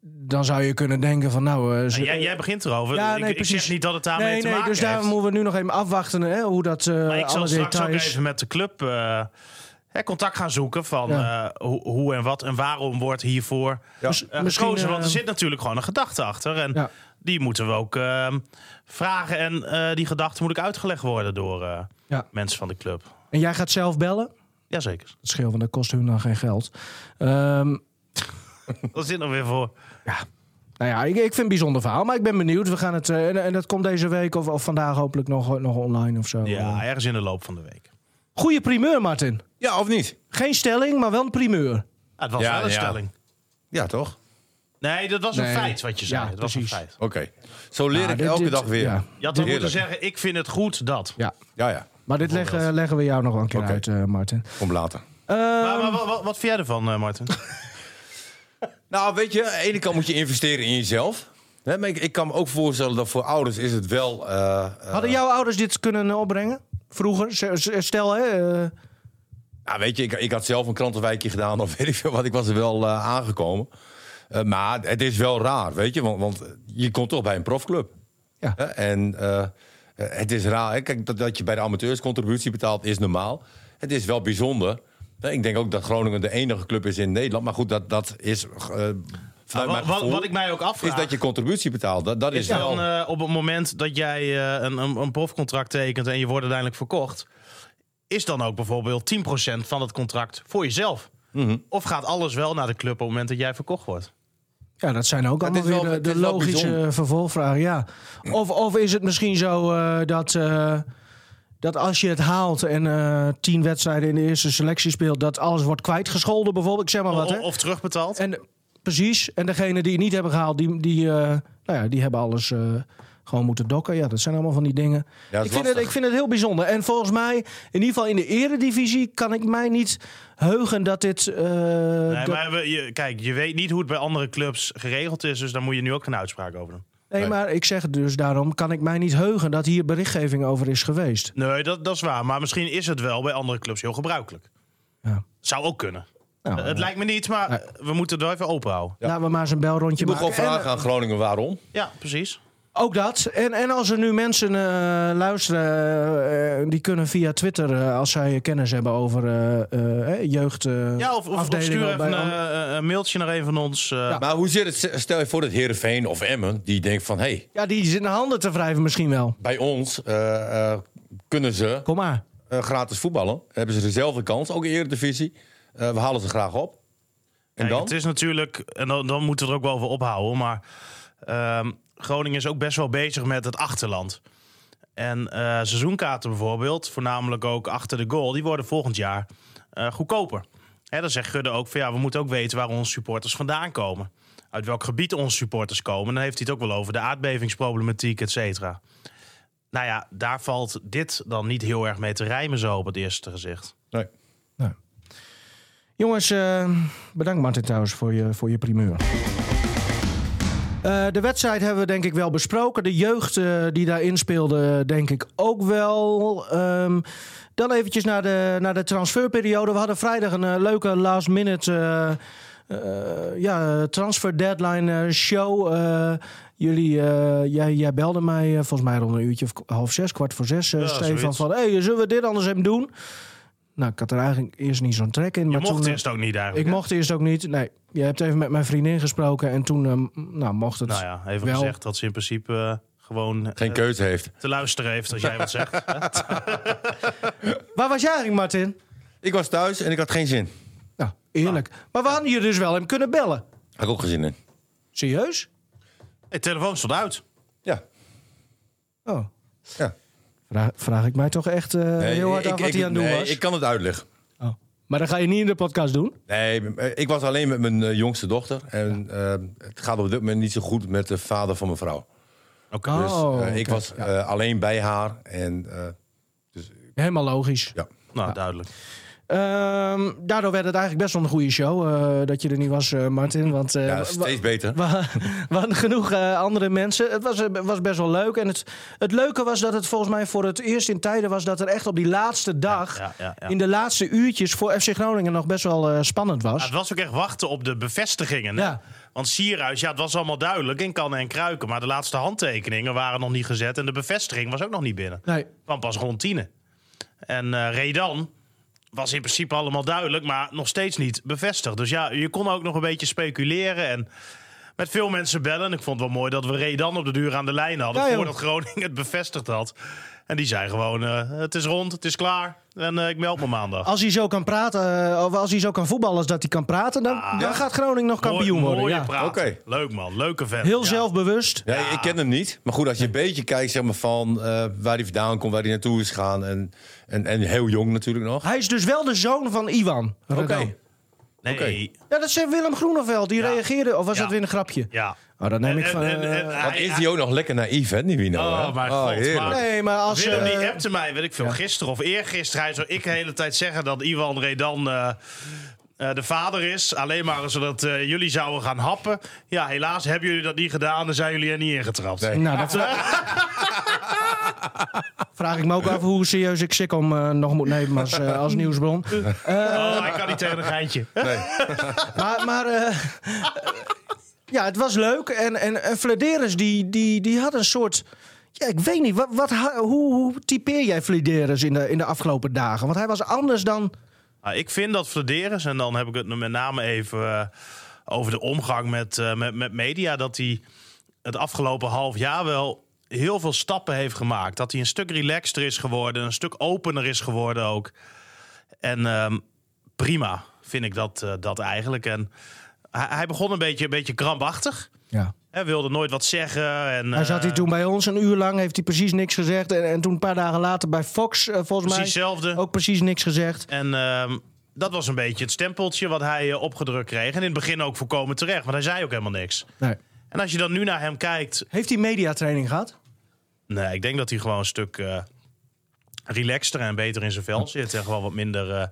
S2: dan zou je kunnen denken van. Nou, eh, ze-
S1: Jij, jij begint erover.
S2: Ja,
S1: ik,
S2: nee,
S1: ik
S2: precies.
S1: zeg niet dat het
S2: nee,
S1: daarmee
S2: nee,
S1: te maken
S2: dus daar
S1: heeft.
S2: moeten we nu nog even afwachten hè, hoe dat. eh
S1: Maar ik zal
S2: alle
S1: straks ook
S2: details.
S1: even met de club eh, hè, contact gaan zoeken van
S2: Ja.
S1: eh, hoe, hoe en wat en waarom wordt hiervoor
S3: Ja.
S2: Miss-
S1: eh,
S2: misschien,
S1: gekozen. Want er
S2: eh,
S1: zit natuurlijk gewoon een gedachte achter. En
S2: Ja.
S1: die moeten we ook eh, vragen. En eh, die gedachte moet ook uitgelegd worden door eh,
S2: Ja.
S1: mensen van de club.
S2: En jij gaat zelf bellen?
S1: Jazeker.
S2: Dat scheelt, want dat kost hun dan geen geld. Ehm,
S1: Dat zit nog weer voor.
S2: nou ja, ik, ik vind het een bijzonder verhaal, maar ik ben benieuwd. We gaan het, eh, en, en dat komt deze week of, of vandaag hopelijk nog, nog online of zo.
S1: Ja, ergens in de loop van de week.
S2: Goeie primeur, Martin.
S3: Ja, of niet?
S2: Geen stelling, maar wel een primeur.
S1: Ah, het was
S3: Ja,
S1: wel een
S3: ja.
S1: stelling.
S3: Ja, toch?
S1: Nee, dat was een
S2: Nee.
S1: feit wat je zei.
S2: Ja,
S1: het was een
S2: precies.
S1: feit.
S3: Oké. Zo leer
S2: Ah,
S3: ik
S2: dit-
S3: elke
S2: dit-
S3: dag weer.
S2: ja.
S3: Ja,
S1: Je had dan moeten
S3: Heerlijk.
S1: zeggen, ik vind het goed dat.
S2: Ja,
S3: ja.
S2: maar dit leggen, leggen we jou nog wel een keer
S3: Oké.
S2: uit, eh, Martin.
S3: Kom later.
S1: Maar, maar wat, wat, wat vind jij ervan, eh, Martin?
S3: Nou, weet je, aan de ene kant moet je investeren in jezelf. Hè, maar ik, ik kan me ook voorstellen dat voor ouders is het wel... eh, eh,
S2: Hadden jouw ouders dit kunnen eh, opbrengen? Vroeger? Z- z- Stel, hè? eh,
S3: Ja, weet je, ik, ik had zelf een krantenwijkje gedaan *laughs* of weet ik veel wat. Ik was er wel eh, aangekomen. Eh, maar het is wel raar, weet je. Want, want je komt toch bij een profclub.
S2: Ja.
S3: Hè? En eh, eh, het is raar. hè. Kijk, dat, dat je bij de amateurs contributie betaalt is normaal. Het is wel bijzonder. Hè, Ik denk ook dat Groningen de enige club is in Nederland. Maar goed, dat, dat is... eh, vanuit mijn
S1: Nou, wat, wat,
S3: gevoel
S1: wat ik mij ook afvraag...
S3: is dat je contributie betaalt. Dat, dat is
S1: Is dan
S3: wel...
S1: eh, op het moment dat jij eh, een, een, een profcontract tekent en je wordt uiteindelijk verkocht, is dan ook bijvoorbeeld 10% van het contract voor jezelf?
S3: Mhm.
S1: Of gaat alles wel naar de club op het moment dat jij verkocht wordt?
S2: ja, dat zijn ook
S3: Het
S2: allemaal
S3: is wel-
S2: weer de,
S3: het
S2: de
S3: is wel
S2: logische
S3: bijzonder.
S2: vervolgvragen, ja. Of, of is het misschien zo eh, dat, eh, dat als je het haalt en eh, tien wedstrijden in de eerste selectie speelt... dat alles wordt kwijtgescholden bijvoorbeeld, ik zeg maar wat,
S1: O-
S2: hè?
S1: of, terugbetaald?
S2: En, precies, en degene die het niet hebben gehaald, die, die, eh, nou ja, die hebben alles... eh, gewoon moeten dokken. Ja, dat zijn allemaal van die dingen.
S3: Ja, dat
S2: ik,
S3: is
S2: vind het,
S3: lastig.
S2: ik vind het heel bijzonder. En volgens mij, in ieder geval in de eredivisie, kan ik mij niet heugen dat dit. eh,
S1: nee,
S2: dat-
S1: maar we- je, kijk, je weet niet hoe het bij andere clubs geregeld is, dus daar moet je nu ook geen uitspraak over doen.
S2: Nee,
S3: Nee.
S2: maar ik zeg het dus daarom kan ik mij niet heugen dat hier berichtgeving over is geweest.
S1: Nee, dat, dat is waar. Maar misschien is het wel bij andere clubs heel gebruikelijk.
S2: Ja.
S1: Zou ook kunnen.
S2: Nou,
S1: Eh, het lijkt me niet, maar eh, we moeten er even open houden.
S2: Laten we maar eens een belrondje
S3: Je moet
S2: maken.
S3: gewoon
S2: En, eh,
S3: vragen aan Groningen waarom.
S1: Ja, precies.
S2: Ook dat. En, en als er nu mensen eh, luisteren, eh, eh, die kunnen via Twitter, eh, als zij kennis hebben over eh, eh, eh, jeugd. eh,
S1: Ja, of, of- of
S2: afdelingen
S1: stuur even
S2: bij
S1: een,
S2: andere-
S1: eh, een mailtje naar een van ons. eh,
S3: Maar hoe zit het, stel je voor dat Heerenveen of Emmen... die denkt van, hé, hey,
S2: ja, die zitten handen te wrijven misschien wel.
S3: bij ons eh, eh, kunnen ze
S2: Kom maar.
S3: eh, gratis voetballen. Hebben ze dezelfde kans, ook in de Eredivisie. Eh, we halen ze graag op. En
S1: Kijk,
S3: dan?
S1: Het is natuurlijk, en dan, dan moeten we er ook wel voor ophouden, maar ehm, Groningen is ook best wel bezig met het achterland. En eh, seizoenkaarten bijvoorbeeld, voornamelijk ook achter de goal, die worden volgend jaar eh, goedkoper. Hè, dan zegt Gudde ook van ja, we moeten ook weten waar onze supporters vandaan komen. Uit welk gebied onze supporters komen. Dan heeft hij het ook wel over de aardbevingsproblematiek, et cetera. Nou ja, daar valt dit dan niet heel erg mee te rijmen zo op het eerste gezicht.
S3: Nee.
S2: Jongens, eh, bedankt Martin trouwens voor je, voor je primeur. Eh, de wedstrijd hebben we denk ik wel besproken. De jeugd eh, die daarin speelde, denk ik ook wel. Ehm, dan eventjes naar de, naar de transferperiode. We hadden vrijdag een eh, leuke last minute eh, eh, ja, transfer deadline eh, show. Eh, Jullie, eh, jij, jij belde mij eh, volgens mij rond een uurtje of k- half zes, kwart voor zes, eh,
S1: Ja,
S2: Stefan.
S1: zoiets.
S2: Van, hey, zullen we dit anders even doen? Nou, ik had er eigenlijk eerst niet zo'n trek in.
S1: Je
S2: maar
S1: mocht
S2: toen, eh,
S1: eerst ook niet eigenlijk.
S2: Ik mocht eerst ook niet. Nee, je hebt even met mijn vriendin gesproken en toen eh, nou, mocht het.
S1: Nou ja, even
S2: wel.
S1: gezegd dat ze in principe eh, gewoon
S3: Geen
S1: eh,
S3: keuze heeft.
S1: te luisteren heeft als jij wat zegt.
S2: *laughs* Waar was jij eigenlijk, Martin?
S3: Ik was thuis en ik had geen zin.
S2: Nou, eerlijk. Maar we hadden je dus wel hem kunnen bellen.
S3: Had ik ook geen zin in.
S2: Serieus?
S1: Het telefoon stond uit.
S3: Ja.
S2: Oh.
S3: Ja.
S2: Vraag, vraag ik mij toch echt eh, heel hard af wat hij aan het doen
S3: nee,
S2: was.
S3: ik kan het uitleggen.
S2: Oh. Maar dat ga je niet in de podcast doen.
S3: Nee, eh, ik was alleen met mijn eh, jongste dochter. En eh, het gaat op dit moment niet zo goed met de vader van mijn vrouw.
S1: Oké.
S2: Oh,
S3: Dus eh, ik
S2: oké.
S3: was eh, alleen bij haar. En eh,
S2: Helemaal logisch.
S3: ja.
S1: Nou, duidelijk.
S2: Ehm, daardoor werd het eigenlijk best wel een goede show eh, dat je er niet was, eh, Martin. Want eh,
S3: ja,
S2: wa-
S3: steeds beter.
S2: wa- we hadden genoeg eh, andere mensen. Het was, eh, was best wel leuk. En het, het leuke was dat het volgens mij voor het eerst in tijden was dat er echt op die laatste dag,
S1: ja, ja, ja.
S2: in de laatste uurtjes voor FC Groningen nog best wel eh, spannend was.
S1: Ja, het was ook echt wachten op de bevestigingen. hè?
S2: Ja.
S1: Want Sierhuis, ja, het was allemaal duidelijk in kannen en kruiken. Maar de laatste handtekeningen waren nog niet gezet. En de bevestiging was ook nog niet binnen.
S2: Nee,
S1: kwam pas rond tienen. En eh, Redan was in principe allemaal duidelijk, maar nog steeds niet bevestigd. Dus ja, je kon ook nog een beetje speculeren en met veel mensen bellen. Ik vond het wel mooi dat we Redan op de duur aan de lijn hadden...
S2: Ja, joh.
S1: voordat Groningen het bevestigd had. En die zei gewoon, eh, het is rond, het is klaar en eh, ik meld me maandag.
S2: als hij zo kan praten, eh, of als hij zo kan voetballen als dat hij kan praten, dan, dan gaat Groningen nog kampioen
S1: Ah, Mooi-
S2: worden.
S1: mooie
S2: Ja.
S1: praat.
S3: Oké.
S1: Leuk man, leuke vent.
S2: Heel
S1: Ja.
S2: zelfbewust.
S3: Ja, ik ken hem niet. Maar goed, als je een beetje kijkt zeg maar, van eh, waar hij vandaan komt, waar hij naartoe is gegaan. En, en, en heel jong natuurlijk nog.
S2: Hij is dus wel de zoon van Iwan.
S3: Oké.
S2: Redan.
S1: Nee,
S3: Oké.
S2: Ja, dat zei Willem Groeneveld. Die
S1: Ja.
S2: reageerde. Of was
S1: Ja.
S2: dat weer een grapje?
S1: ja.
S2: Oh, dat neem
S1: En-
S2: ik van.
S1: en- en-
S2: eh,
S1: en
S3: Wat
S1: hij-
S3: is die ook nog lekker naïef, hè, Nivino?
S1: Oh,
S3: hè?
S1: mijn god,
S3: heerlijk.
S1: maar-
S2: nee, maar als.
S1: Willem die
S2: eh,
S1: appte mij, weet ik veel, gisteren of eergisteren. Hij zou ik de hele tijd zeggen dat Ivan Redan eh, eh, de vader is. Alleen maar zodat eh, jullie zouden gaan happen. Ja, helaas hebben jullie dat niet gedaan en zijn jullie er niet ingetrapt.
S3: Nee.
S2: nou, dat *laughs* vraag ik me ook af hoe serieus ik Sikkom eh, nog moet nemen als, eh, als nieuwsbron.
S1: Oh, ik kan niet tegen een geintje.
S2: Maar, maar eh, ja, het was leuk. En, en, en Flederis, die, die, die had een soort... Ja, ik weet niet, wat, wat, ha- hoe, hoe typeer jij Flederis in de, in de afgelopen dagen? Want hij was anders dan...
S1: Ah, ik vind dat Flederis, en dan heb ik het met name even eh, over de omgang met, eh, met, met media, dat hij het afgelopen half jaar wel heel veel stappen heeft gemaakt. Dat hij een stuk relaxter is geworden, een stuk opener is geworden ook. En ehm, prima vind ik dat, eh, dat eigenlijk. En hij, hij begon een beetje, een beetje krampachtig.
S2: Ja.
S1: Hij wilde nooit wat zeggen. En,
S2: Hij zat
S1: eh,
S2: hier toen bij ons een uur lang, heeft hij precies niks gezegd. En, en toen een paar dagen later bij Fox, eh, volgens
S1: Precies
S2: mij,
S1: hetzelfde.
S2: ook precies niks gezegd.
S1: En ehm, dat was een beetje het stempeltje wat hij eh, opgedrukt kreeg. En in het begin ook voorkomen terecht, want hij zei ook helemaal niks.
S2: Nee.
S1: En als je dan nu naar hem kijkt.
S2: Heeft hij mediatraining gehad?
S1: Nee, ik denk dat hij gewoon een stuk eh relaxter en beter in zijn vel zit. En gewoon wat minder. eh,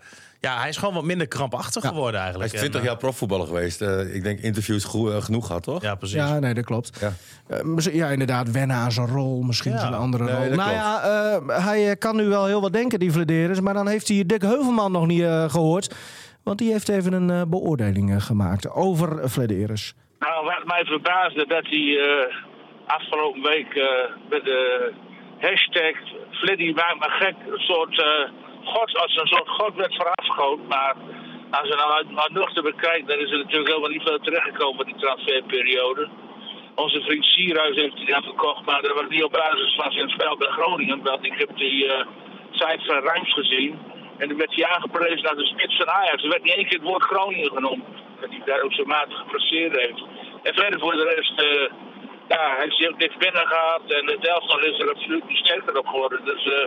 S1: ja, hij is gewoon wat minder krampachtig geworden
S3: Hij
S1: eigenlijk.
S3: is 20
S1: En, eh,
S3: jaar profvoetballer geweest. Eh, ik denk interviews goe- eh, genoeg gehad, toch?
S1: Ja, precies.
S2: Ja, nee, dat klopt.
S3: Ja.
S2: Eh, mis- ja, inderdaad, wennen aan zijn rol, misschien
S1: Ja,
S2: zijn andere
S3: nee,
S2: rol.
S3: dat
S2: Nou
S3: klopt.
S2: ja, eh, hij eh, kan nu wel heel wat denken, die Vladeris. Maar dan heeft hij Dick Heuvelman nog niet eh, gehoord. Want die heeft even een eh, beoordeling eh, gemaakt over uh,
S5: Nou, wat mij verbaasde dat hij eh, afgelopen week eh, met de hashtag Fliddy maakt me gek een soort eh, god, als een soort god werd voorafgehouden. Maar als je nou uit, uit nuchter bekijkt, dan is er natuurlijk helemaal niet veel terechtgekomen in die transferperiode. Onze vriend Sierhuis heeft hij dan verkocht, maar dat was niet op basis van zijn spel bij Groningen. Want ik heb die eh site van Rijms gezien. En toen werd hij aangeprezen naar de spits van Ajax. Er werd niet één keer het woord Groningen genoemd. Dat hij daar ook zo matig gepresteerd heeft. En verder voor de rest, eh, ja, hij heeft zich ook niks binnen gehad. En het elftal is er absoluut niet sterker op geworden. Dus eh,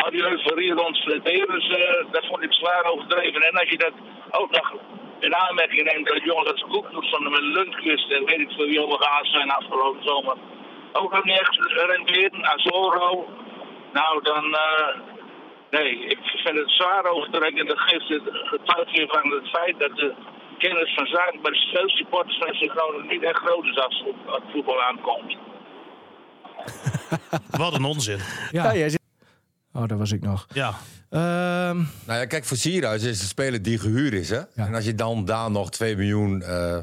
S5: al die euforie rond Flederis, eh dat vond ik zwaar overdreven. En als je dat ook nog in aanmerking neemt dat jongens als Koeknoes van de Lundqvist en weet ik veel wie allemaal gehaast zijn afgelopen zomer. Ook nog niet echt renderen, Azoro. Nou, dan... eh, nee, ik vind het zwaar overtrekken. Dat geeft het getuigt weer van het feit dat de kennis van zaken bij de veel supporters van FC Groningen niet echt groot is als het- als het voetbal aankomt.
S1: Wat een onzin.
S2: Ja. Oh, daar was ik nog.
S1: Ja.
S2: Ehm,
S3: Nou ja, kijk, voor Sierhuis is het een speler die gehuurd is. Hè? En als je dan daar nog 2 miljoen eh,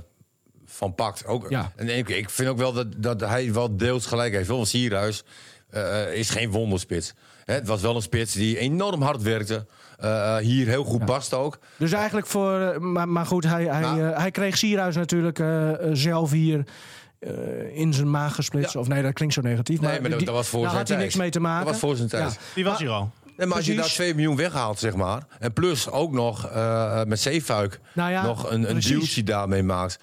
S3: van pakt. Ook,
S6: Ja.
S3: en ik, ik vind ook wel dat, dat hij wel deels gelijk heeft. Want Sierhuis eh, eh, is geen wonderspits. Hè, het was wel een spits die enorm hard werkte. Eh, eh, hier heel goed past ook.
S2: Dus eigenlijk voor. eh, Maar, maar goed, hij, hij,
S3: Nou.
S2: eh, hij kreeg Sierhuis natuurlijk eh, eh, zelf hier. eh, in zijn maag gesplitst.
S3: Ja.
S2: Of nee, dat klinkt zo negatief.
S3: Nee,
S2: maar
S3: maar dat,
S2: die-
S3: dat was voor
S2: daar
S3: zijn
S2: had hij
S3: tijd.
S2: niks mee te maken.
S3: Dat was voor zijn tijd.
S2: Ja.
S1: Die was hier al.
S3: Nee, maar als je daar
S2: Precies.
S3: 2 miljoen weghaalt, zeg maar. En plus ook nog eh, eh, met Zeefuik
S2: Nou ja,
S3: nog een, een
S2: precies.
S3: dealtje daarmee maakt.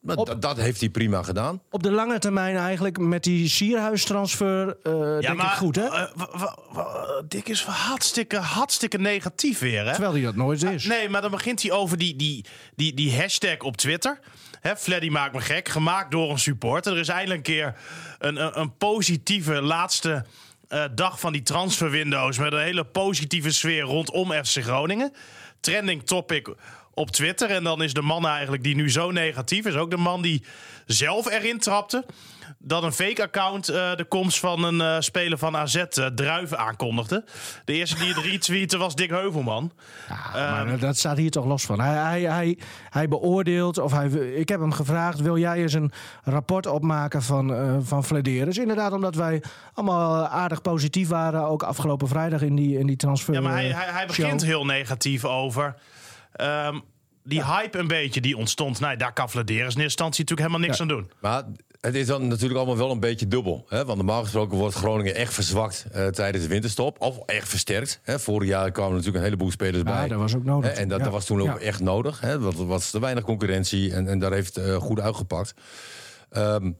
S3: Maar
S2: Op-
S3: dat- dat heeft hij prima gedaan.
S2: Op de lange termijn eigenlijk met die Sierhuis-transfer. eh denk ik goed, hè?
S1: eh, wa- wa- wa- Dick is hartstikke, hartstikke negatief weer, hè?
S2: Terwijl hij dat nooit is.
S1: Ah, Nee, maar dan begint hij over die, die, die, die hashtag op Twitter. Hè, Fleddy maakt me gek, gemaakt door een supporter. Er is eindelijk een keer een, een, een positieve laatste eh, dag van die transferwindows... met een hele positieve sfeer rondom FC Groningen. Trending topic op Twitter. En dan is de man eigenlijk die nu zo negatief is... ook de man die zelf erin trapte... dat een fake account eh, de komst van een eh, speler van AZ eh, Druiven aankondigde. De eerste die het *laughs* retweette was Dick Heuvelman.
S2: Ja, maar eh, dat- dat staat hier toch los van. Hij, hij, hij, hij beoordeelt, of hij, ik heb hem gevraagd: wil jij eens een rapport opmaken van, eh van Flederis? Inderdaad, omdat wij allemaal aardig positief waren. Ook afgelopen vrijdag in die, in die transfer.
S1: Ja, maar hij,
S2: eh,
S1: hij, hij
S2: show.
S1: begint heel negatief over. ehm, die hype een beetje die ontstond. Nou, daar kan Vladeris in eerste instantie natuurlijk helemaal niks aan doen.
S3: Maar het is dan natuurlijk allemaal wel een beetje dubbel. Hè? Want normaal gesproken wordt Groningen echt verzwakt eh, tijdens de winterstop. Of echt versterkt. Hè? Vorig jaar kwamen er natuurlijk een heleboel spelers
S2: Ja,
S3: bij.
S2: dat was ook nodig.
S3: Hè, En dat,
S2: Ja.
S3: dat was toen ook
S2: Ja.
S3: echt nodig. Hè? Want er was te weinig concurrentie en, en daar heeft eh goed uitgepakt. Ehm,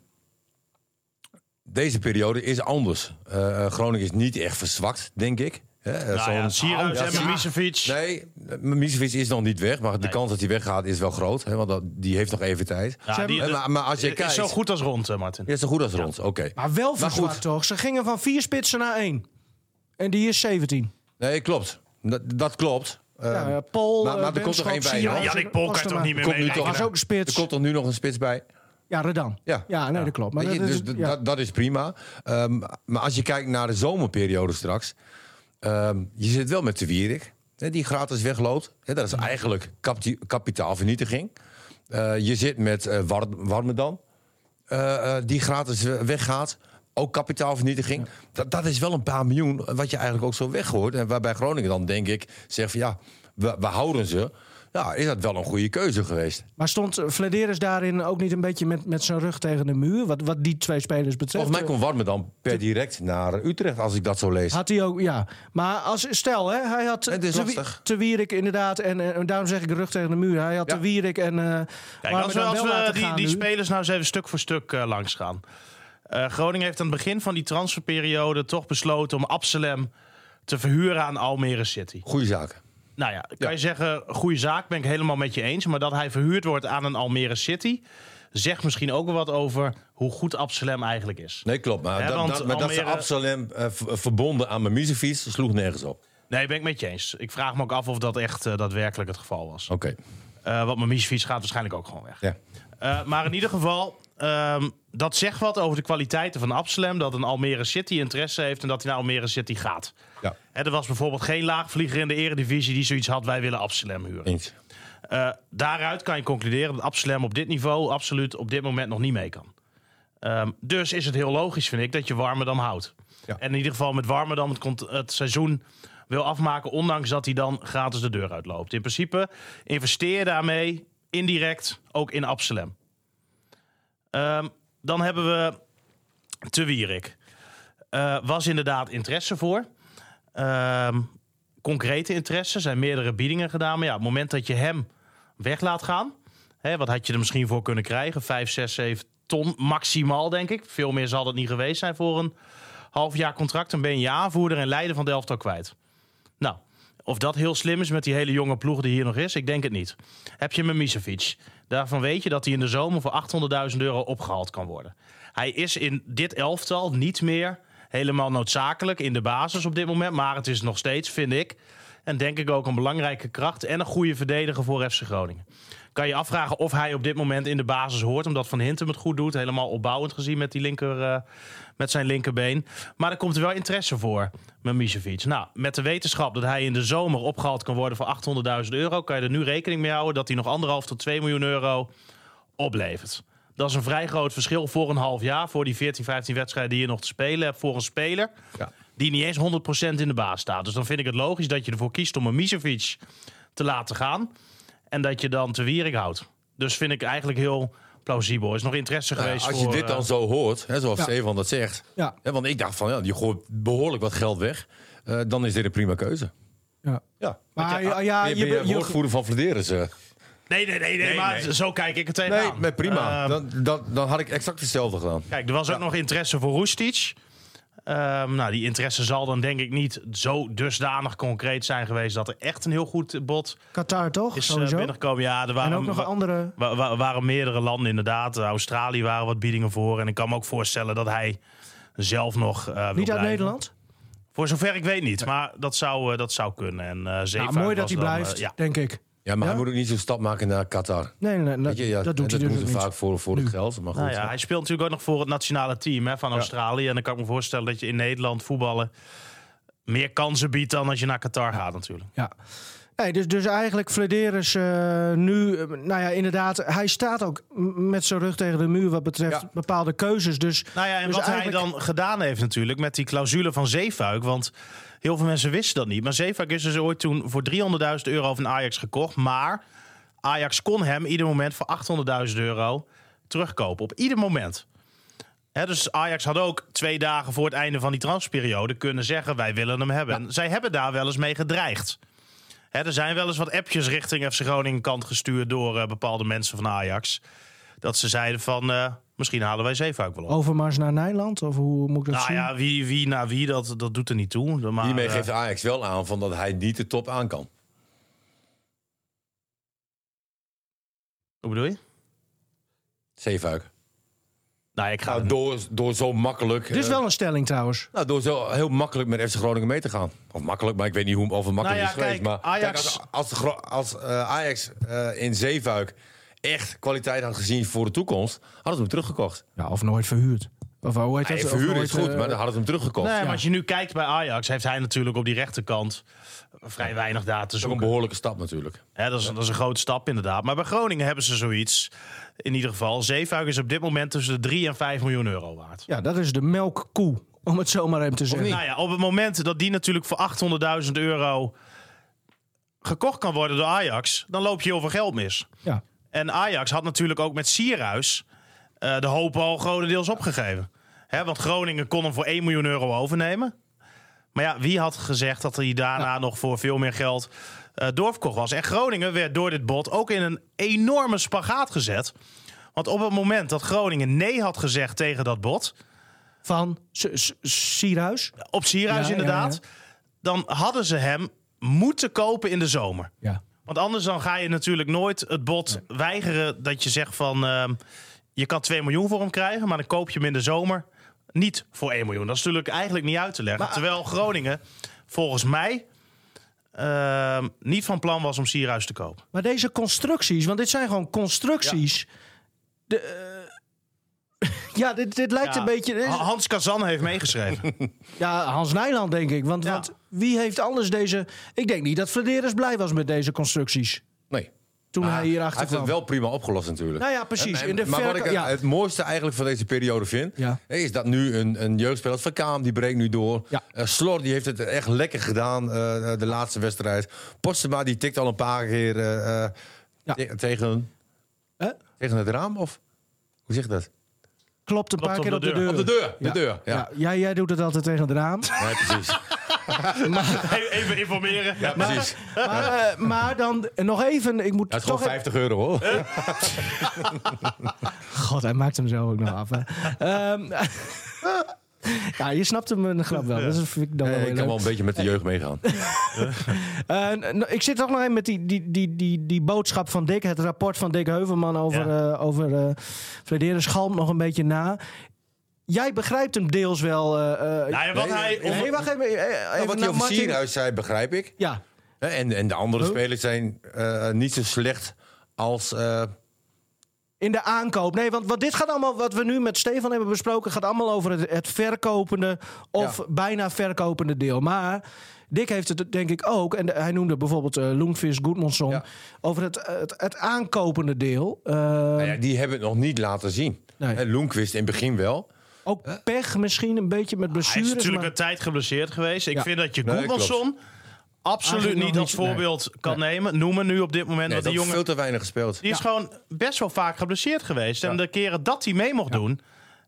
S3: deze periode is anders. Eh, eh, Groningen is niet echt verzwakt, denk ik. Hè? Eh,
S1: Nou
S3: zo'n-
S1: ja, Sierhuis
S3: Ja,
S1: en Misevic.
S3: Nee, Misevic is nog niet weg, maar de
S1: Nee.
S3: kans dat hij weggaat is wel groot. Hè, want dat, die heeft nog even tijd.
S1: Ja, die,
S3: Eh, maar, maar als je
S1: is
S3: kijkt...
S1: zo goed als rond, hè, Martin.
S3: Ja, zo goed als rond, oké.
S2: Maar wel
S3: Maar
S2: verzwakt
S3: goed.
S2: toch? Ze gingen van vier spitsen naar één. En die is 17.
S3: Nee, klopt. Dat, dat klopt.
S2: Ja,
S3: Eh,
S2: eh, Paul,
S3: maar-
S2: eh,
S3: maar er komt
S2: Benschop,
S3: nog één bij,
S2: Sierhuis,
S3: hè?
S1: Jannik Pol kan je toch
S2: Postema.
S1: niet meer
S3: Komt nu
S1: mee.
S3: toch-
S2: was ook de
S3: er
S2: spits.
S3: komt toch nu nog een spits bij?
S2: Ja, Redan.
S3: Ja.
S2: ja nee, dat klopt. Maar
S3: Weet je,
S2: dat,
S3: dus
S2: dat-
S3: d-
S2: ja.
S3: dat, dat is prima. Ehm, maar als je kijkt naar de zomerperiode straks. ehm, je zit wel met de Wierik. Hè, die gratis wegloopt. Hè, dat is
S2: Mhm.
S3: eigenlijk kapti- kapitaalvernietiging. Eh, je zit met eh War- Warmerdam. eh, eh, die gratis we- weggaat. Ook kapitaalvernietiging. Dat, dat is wel een paar miljoen. eh, Wat je eigenlijk ook zo weggooit. En waarbij Groningen dan, denk ik, zegt van ja, we, we houden ze. Ja, is dat wel een goede keuze geweest?
S2: Maar stond eh, Flederis daarin ook niet een beetje met, met zijn rug tegen de muur? Wat, wat die twee spelers betreft.
S3: Volgens mij komt Warmerdam per direct naar eh, Utrecht, als ik dat zo lees.
S2: Had hij ook, ja. Maar als, stel, hè, hij had
S3: Het is
S2: Te Wie-
S3: lastig.
S2: Te Wierik inderdaad, en, eh, en daarom zeg ik rug tegen de muur. Hij had
S3: Ja.
S2: Te Wierik en eh
S1: Kijk,
S2: Warmerdam
S1: als we, als
S2: wel
S1: we
S2: laten
S1: die,
S2: gaan
S1: die
S2: nu.
S1: spelers nou eens even stuk voor stuk eh, langs gaan. Eh, Groningen heeft aan het begin van die transferperiode toch besloten om Absalem te verhuren aan Almere City.
S3: Goeie zaken.
S1: Nou ja, kan
S3: Ja.
S1: je zeggen, goede zaak, ben ik helemaal met je eens. Maar dat hij verhuurd wordt aan een Almere City... zegt misschien ook wel wat over hoe goed Absalem eigenlijk is.
S3: Nee, klopt. Maar,
S1: Hè,
S3: dat,
S1: want
S3: dat, maar dat ze
S1: Almere-
S3: Absalem eh, v- verbonden aan mijn muzefiets sloeg nergens op.
S1: Nee, ben ik met je eens. Ik vraag me ook af of dat echt eh, daadwerkelijk het geval was.
S3: Oké.
S1: Eh, want mijn misfiets gaat waarschijnlijk ook gewoon weg.
S3: Ja.
S1: Eh, maar in ieder geval, ehm, dat zegt wat over de kwaliteiten van Absalem. Dat een Almere City interesse heeft en dat hij naar Almere City gaat.
S3: Ja,
S1: Hè, er was bijvoorbeeld geen laagvlieger in de eredivisie die zoiets had... wij willen Absalem huren.
S3: eens.
S1: Eh, daaruit kan je concluderen dat Absalem op dit niveau absoluut op dit moment nog niet mee kan. Ehm, dus is het heel logisch, vind ik, dat je Warmerdam houdt.
S3: Ja.
S1: En in ieder geval met Warmerdam het, cont- het seizoen wil afmaken, ondanks dat hij dan gratis de deur uitloopt. In principe investeer je daarmee indirect ook in Absalem. Ehm, dan hebben we Te Wierik. Eh, was inderdaad interesse voor. Ehm, concrete interesse, zijn meerdere biedingen gedaan. Maar ja, op het moment dat je hem weg laat gaan. Hè, wat had je er misschien voor kunnen krijgen? 5, 6, 7 ton maximaal, denk ik. Veel meer zal het niet geweest zijn voor een half jaar contract. Dan ben je je aanvoerder en leider van de elftal kwijt. Nou, of dat heel slim is met die hele jonge ploeg die hier nog is, ik denk het niet. Heb je Mimicevic. Daarvan weet je dat hij in de zomer voor 800.000 euro opgehaald kan worden. Hij is in dit elftal niet meer helemaal noodzakelijk in de basis op dit moment. Maar het is nog steeds, vind ik, en denk ik ook een belangrijke kracht en een goede verdediger voor FC Groningen. Kan je afvragen of hij op dit moment in de basis hoort, omdat Van Hintem het goed doet. Helemaal opbouwend gezien met, die linker, eh, met zijn linkerbeen. Maar er komt er wel interesse voor, Mimicevic. Nou, met de wetenschap dat hij in de zomer opgehaald kan worden voor 800.000 euro, kan je er nu rekening mee houden dat hij nog anderhalf tot 2 miljoen euro oplevert. Dat is een vrij groot verschil voor een half jaar. Voor die 14, 15 wedstrijden die je nog te spelen hebt. Voor een speler
S3: Ja.
S1: die niet eens 100% in de baas staat. Dus dan vind ik het logisch dat je ervoor kiest om een Misevic te laten gaan. En dat je dan te Wierik houdt. Dus vind ik eigenlijk heel plausibel. Is nog interesse
S3: Nou ja,
S1: geweest
S3: als je
S1: voor,
S3: dit dan
S1: eh,
S3: zo hoort, hè, zoals
S2: Ja.
S3: Stefan dat zegt.
S2: Ja.
S3: Hè, want ik dacht van, ja, die gooit behoorlijk wat geld weg. Eh, dan is dit een prima keuze.
S2: Ja.
S3: Ja.
S2: Maar ja, ja,
S3: je, ah,
S2: je,
S3: ben
S2: je,
S3: je woordvoerder van eh? Vladeren ze.
S1: Nee, nee, nee, nee,
S3: Nee,
S1: maar
S3: nee.
S1: zo kijk ik het tegenaan.
S3: Nee, maar prima.
S1: Ehm,
S3: dan, dan, dan had ik exact hetzelfde gedaan.
S1: Kijk, er was ook nog interesse voor Roestic. Ehm, nou, die interesse zal dan denk ik niet zo dusdanig concreet zijn geweest dat er echt een heel goed bod
S2: Qatar toch?
S1: is eh,
S2: Sowieso.
S1: binnengekomen. Ja, er waren,
S2: en ook nog
S1: wa-
S2: andere.
S1: wa- wa- waren meerdere landen inderdaad. Eh, Australië waren wat biedingen voor. En ik kan me ook voorstellen dat hij zelf nog. eh, wil
S2: Niet uit
S1: blijven.
S2: Nederland.
S1: Voor zover ik weet niet, maar dat zou, eh, dat zou kunnen. En, eh,
S2: Ja,
S1: Zeefuik
S2: Nou, mooi dat
S1: was
S2: hij
S1: dan, eh,
S2: blijft,
S1: ja.
S2: denk ik.
S3: Ja, maar
S2: Ja?
S3: hij moet ook niet zo'n stap maken naar Qatar.
S2: Nee, nee, nee,
S3: Weet je, ja,
S2: dat doet hij dus
S3: moeten
S2: ook niet.
S3: vaak voor, voor het geld. Maar goed,
S1: Nou ja, hij speelt natuurlijk ook nog voor het nationale team hè, van Australië. En dan kan ik me voorstellen dat je in Nederland voetballen meer kansen biedt dan als je naar Qatar gaat natuurlijk.
S2: Ja. Nee, dus, dus eigenlijk Flederis eh nu, eh, nou ja, inderdaad, hij staat ook m- met zijn rug tegen de muur wat betreft
S3: Ja.
S2: bepaalde keuzes. Dus
S1: Nou ja, en
S2: Dus
S1: wat hij
S2: eigenlijk-
S1: dan gedaan heeft natuurlijk met die clausule van Zeefuik. Want heel veel mensen wisten dat niet. Maar Zeefuik is dus ooit toen voor 300.000 euro van Ajax gekocht. Maar Ajax kon hem ieder moment voor 800.000 euro terugkopen. Op ieder moment. Hè, dus Ajax had ook twee dagen voor het einde van die transperiode kunnen zeggen: wij willen hem hebben. En zij hebben daar wel eens mee gedreigd. Hè, er zijn wel eens wat appjes richting FC Groningen kant gestuurd door eh, bepaalde mensen van Ajax. Dat ze zeiden van eh, misschien halen wij Zeefuik wel op.
S2: Overmars naar Nederland, of hoe moet ik dat
S1: Nou
S2: zien?
S1: ja, wie, wie naar wie, dat, dat doet er niet toe. Maar,
S3: Hiermee
S1: eh,
S3: geeft Ajax wel aan van dat hij niet de top aan kan.
S1: Hoe bedoel je?
S3: Zeefuik.
S1: Nou, ik ga...
S3: Nou, door, door zo makkelijk...
S2: Dit is
S1: Dus
S3: eh,
S2: wel een stelling trouwens.
S3: nou, door zo heel makkelijk met FC Groningen mee te gaan. Of makkelijk, maar ik weet niet hoe, of het makkelijk
S1: Nou ja,
S3: is geweest.
S1: kijk,
S3: maar
S1: Ajax-
S3: kijk, als als, de gro- als eh, Ajax eh, in Zeefuik echt kwaliteit had gezien voor de toekomst... hadden ze hem teruggekocht.
S2: Ja, of nooit verhuurd. Of oh, hoe heet dat?
S3: Hij
S2: Of
S3: verhuurd
S2: nooit,
S3: is goed,
S2: eh,
S3: maar dan hadden ze hem teruggekocht.
S1: nee,
S3: Dat
S1: maar als je nu kijkt bij Ajax, heeft hij natuurlijk op die rechterkant vrij weinig
S3: is
S1: daar te
S3: ook een
S1: zoeken.
S3: behoorlijke stap natuurlijk.
S1: Hè, dat, is, dat is een grote stap inderdaad. Maar bij Groningen hebben ze zoiets. In ieder geval, Zeefuik is op dit moment tussen de 3 en 5 miljoen euro waard.
S2: Ja, dat is de melkkoe, om het zo maar even te zeggen.
S1: Nou ja, op het moment dat die natuurlijk voor 800.000 euro gekocht kan worden door Ajax, dan loop je heel veel geld mis.
S2: Ja.
S1: En Ajax had natuurlijk ook met Sierhuis eh, de hoop al grotendeels opgegeven. Hè, want Groningen kon hem voor 1 miljoen euro overnemen. Maar ja, wie had gezegd dat hij daarna nog voor veel meer geld eh doorverkocht was? En Groningen werd door dit bod ook in een enorme spagaat gezet. Want op het moment dat Groningen nee had gezegd tegen dat bod,
S2: Van S- S- Sierhuis.
S1: op Sierhuis
S2: Ja, ja,
S1: inderdaad, dan hadden ze hem moeten kopen in de zomer.
S2: Ja.
S1: Want anders dan ga je natuurlijk nooit het bod weigeren dat je zegt van... ehm, je kan 2 miljoen voor hem krijgen, maar dan koop je hem in de zomer niet voor 1 miljoen. Dat is natuurlijk eigenlijk niet uit te leggen. Terwijl Groningen volgens mij ehm, niet van plan was om Sierhuis te kopen.
S2: Maar deze constructies, want dit zijn gewoon constructies. Ja, de, eh, *laughs* ja dit, dit lijkt
S1: Ja, Oh,
S2: een beetje... dit is-
S1: Ha- Hans Kazan heeft
S2: *laughs*
S1: meegeschreven.
S2: Ja, Hans Nijland, denk ik. Want,
S1: Ja.
S2: want wie heeft anders deze... Ik denk niet dat Flederis blij was met deze constructies.
S3: Nee.
S2: Toen
S3: Maar
S2: hij hier achter
S3: Ah, Nou, heeft het
S2: kwam.
S3: wel prima opgelost natuurlijk.
S2: Nou ja, precies.
S3: En-
S2: In de
S3: maar wat
S2: verko-
S3: ik
S2: ja.
S3: het mooiste eigenlijk van deze periode vind...
S2: Ja.
S3: is dat nu een, een jeugdspeler, Van Kaam, die breekt nu door.
S2: Ja.
S3: Eh, Slor, die heeft het echt lekker gedaan eh, de laatste wedstrijd. Postema, die tikt al een paar keer eh, eh,
S2: Ja.
S3: te- tegen,
S2: Hè?
S3: tegen het raam, of... Hoe zeg je dat?
S2: Klopt een paar
S1: op
S2: keer
S1: de
S2: op de,
S1: deur.
S2: deur.
S3: Op de deur, de
S2: Ja.
S3: deur. Ja,
S2: Ja, jij, jij doet het altijd tegen het raam.
S3: *laughs* Ja,
S2: *laughs*
S3: precies.
S1: Even informeren.
S3: Ja, precies.
S2: maar, eh, maar dan nog even... Ik moet
S3: Ja, het is
S2: toch
S3: gewoon
S2: even-
S3: 50 euro, hoor.
S2: God, hij maakt hem zelf ook nog af.
S3: *laughs*
S2: hè. Ehm, *laughs* ja, je snapt hem een grap wel. Dat vind ik dan wel
S3: Eh,
S2: weer leuk.
S3: ik kan wel een beetje met de jeugd meegaan.
S2: Eh, n- n- ik zit toch nog even met die, die, die, die, die boodschap van Dick. Het rapport van Dick Heuvelman over, eh over eh Flederis schalmt nog een beetje na. Jij begrijpt hem deels wel. eh, eh,
S1: Nou ja, wat
S3: Nee,
S1: hij...
S2: nee, wacht even. eh, eh, even
S3: Nou, wat
S2: naar
S3: die over
S2: Martin.
S3: Sierhuis zei, begrijp ik.
S2: Ja,
S3: Hè, En, en de andere
S2: Huh?
S3: spelers zijn eh, niet zo slecht als... eh,
S2: Um. in de aankoop. Nee, want, want dit gaat allemaal, wat we nu met Stefan hebben besproken, gaat allemaal over het, het verkopende of
S3: Ja.
S2: bijna verkopende deel. Maar Dick heeft het denk ik ook, en de- hij noemde bijvoorbeeld eh Loenvis, Goedmanson,
S3: Ja.
S2: over het, het, het aankopende deel. Eh,
S3: Nou ja, die hebben het nog niet laten zien.
S2: Nee.
S3: Hè, Loenquist in het begin wel.
S2: Ook pech misschien een beetje met
S1: Hij is
S2: blessures.
S1: natuurlijk
S2: maar-
S1: een tijd geblesseerd geweest. Ik
S2: Ja.
S1: vind dat je
S3: Nee,
S1: Goedmanson absoluut
S2: Eigenlijk nog
S1: niet als
S2: niet- nee.
S1: voorbeeld kan nemen. Noemen nu op dit moment
S3: Nee,
S1: dat
S3: dat
S1: die
S3: is
S1: jongen
S3: veel te weinig gespeeld.
S1: Die is gewoon best wel vaak geblesseerd geweest. En de keren dat hij mee mocht doen,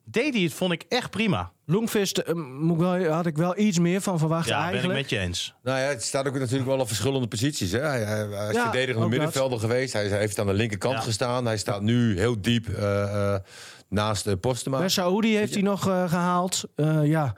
S1: deed hij het, vond ik echt prima.
S2: Longfist eh, moet ik wel- had ik wel iets meer van verwacht
S1: Ja, ben ik
S2: eigenlijk.
S1: met je eens.
S3: Nou ja, het staat ook natuurlijk wel op verschillende posities. Hè. Hij, hij- hij is
S2: Ja,
S3: verdedigende
S2: ook dat.
S3: middenvelder geweest. Hij is- hij heeft aan de linkerkant
S1: Ja.
S3: gestaan. Hij staat nu heel diep eh, eh, naast de Postema.
S2: Bij Saoedi heeft hij nog eh, gehaald. Eh, ja,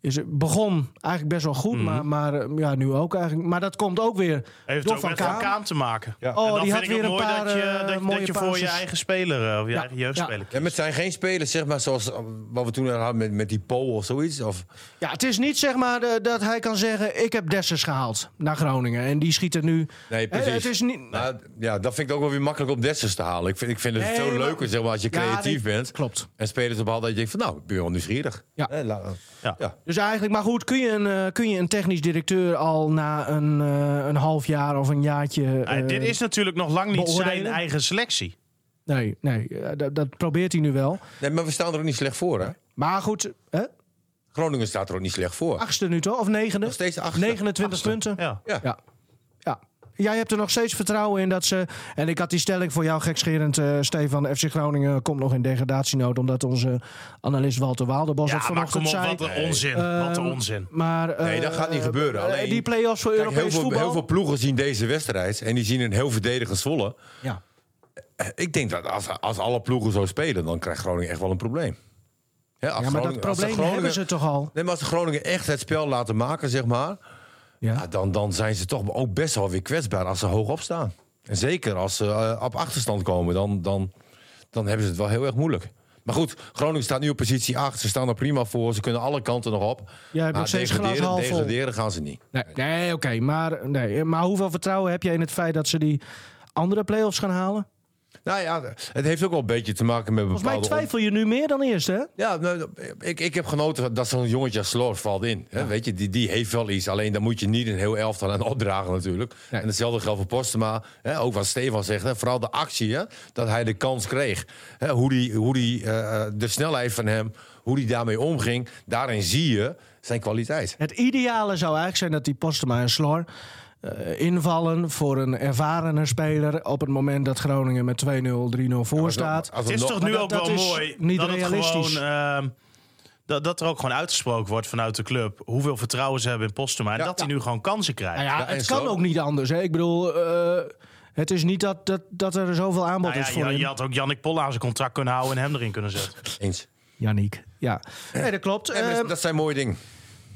S2: is, het- begon eigenlijk best wel goed,
S1: Mhm.
S2: maar, maar eh, ja, nu ook eigenlijk. Maar dat komt ook weer
S1: Heeft het
S2: door
S1: ook
S2: Van
S1: met Van
S2: Kaan.
S1: Kaan te maken.
S3: Ja.
S1: En
S2: Oh,
S1: dan
S2: die had
S1: vind ik
S2: weer
S1: het
S2: een
S1: mooi
S2: paar
S1: dat je,
S2: eh,
S1: dat, je-
S2: mooie
S1: dat je voor je
S2: passes.
S1: eigen speler eh, of je
S2: Ja,
S1: eigen
S2: ja.
S1: jeugdspeler
S3: Ja,
S1: kiest.
S3: maar het zijn geen spelers, zeg maar, zoals eh, wat we toen hadden met, met die Pool of zoiets. Of,
S2: Ja, het is niet zeg maar eh, dat hij kan zeggen: ik heb Dessers gehaald naar Groningen en die schiet er nu.
S3: nee,
S2: Eh,
S3: precies.
S2: het is niet.
S3: Maar, ja, dat vind ik ook wel weer makkelijk om Dessers te halen. Ik vind, ik vind het
S2: Nee,
S3: veel
S2: maar-
S3: leuker zeg maar, als je
S2: Ja,
S3: creatief
S2: nee,
S3: bent.
S2: klopt.
S3: En spelers op hal dat je denkt van nou, ik ben wel nieuwsgierig.
S2: Ja.
S3: Hè, la-
S1: Ja.
S3: ja.
S2: Dus eigenlijk, maar goed, kun je een, eh, kun je een technisch directeur al na een, eh, een half jaar of een jaartje.
S1: Eh,
S2: eh,
S1: dit is natuurlijk nog lang niet zijn
S2: beoordelen?
S1: eigen selectie.
S2: Nee, nee eh, dat, dat probeert hij nu wel.
S3: Nee, maar we staan er ook niet slecht voor, hè?
S2: Maar goed, hè?
S3: Groningen staat er ook niet slecht voor.
S2: achtste nu toch? Of negende?
S3: Nog steeds achtste.
S2: 29 punten.
S1: Ja.
S3: Ja.
S2: Ja. ja. Jij hebt er nog steeds vertrouwen in dat ze. En ik had die stelling voor jou gekscherend, eh Stefan. FC Groningen komt nog in degradatienood. Omdat onze analist Walter Waalderbos dat
S1: Ja, maar kom
S2: vanochtend zei.
S1: op, wat een onzin. wat een onzin.
S2: Maar, eh,
S3: Nee, dat gaat niet gebeuren.
S2: eh,
S3: Alleen-
S2: die play-offs voor
S3: Kijk, heel
S2: Europees
S3: veel,
S2: voetbal.
S3: heel veel ploegen zien deze wedstrijd en die zien een heel verdedigend Zwolle.
S2: Ja.
S3: Ik denk dat als, als alle ploegen zo spelen, dan krijgt Groningen echt wel een probleem. Hè, als
S2: ja, maar dat
S3: Groningen- als de
S2: probleem hebben ze toch al.
S3: Nee, maar als de Groningen echt het spel laten maken, zeg maar...
S2: Ja.
S3: Ja, Nou, dan, dan zijn ze toch ook best wel weer kwetsbaar als ze hoog opstaan. En zeker als ze eh, op achterstand komen, dan, dan, dan hebben ze het wel heel erg moeilijk. Maar goed, Groningen staat nu op positie 8. Ze staan er prima voor. Ze kunnen alle kanten nog op.
S2: Jij hebt
S3: maar
S2: nog steeds
S3: degraderen,
S2: glas half vol.
S3: degraderen gaan ze niet.
S2: Nee, nee oké. maar, nee. maar hoeveel vertrouwen heb jij in het feit dat ze die andere play-offs gaan halen?
S3: Nou ja, het heeft ook wel een beetje te maken met bepaalde...
S2: Volgens mij
S3: om-
S2: twijfel je nu meer dan eerst, hè?
S3: Ja, nou, ik, ik heb genoten dat zo'n jongetje als Sloor valt in. Hè? Weet je, die, die heeft wel iets. Alleen daar moet je niet een heel elftal aan opdragen natuurlijk.
S2: Nee.
S3: En hetzelfde geldt voor Postema. Hè? Ook wat Stefan zegt. Hè? Vooral de actie, hè? dat hij de kans kreeg. Hè? Hoe die, hoe die, eh, eh, de snelheid van hem, hoe die daarmee omging. Daarin zie je zijn kwaliteit.
S2: Het ideale zou eigenlijk zijn dat die Postema en Slor eh, invallen voor een ervarene speler op het moment dat Groningen met 2-0, 3-0 voor staat.
S3: Als
S1: Het is
S3: nog-
S1: toch nu
S2: dat-
S1: ook
S2: dat
S1: wel
S2: is
S1: mooi
S2: niet
S1: dat het
S2: realistisch.
S1: gewoon... ehm, dat, dat er ook gewoon uitgesproken wordt vanuit de club... hoeveel vertrouwen ze hebben in Postema... en
S3: Ja.
S1: dat hij nu gewoon kansen krijgt.
S2: Nou ja,
S3: Ja, en
S2: het kan
S3: Slor.
S2: ook niet anders. Hè? Ik bedoel, eh, het is niet dat, dat, dat er zoveel aanbod
S1: Nou ja,
S2: is voor
S1: je,
S2: hem.
S1: je had ook Jannik Polla aan zijn contract kunnen houden... en hem erin kunnen zetten.
S3: Eens.
S2: Yannick. Ja, nee, dat klopt.
S3: Nee, maar dat-
S2: Ehm,
S3: dat zijn mooie dingen.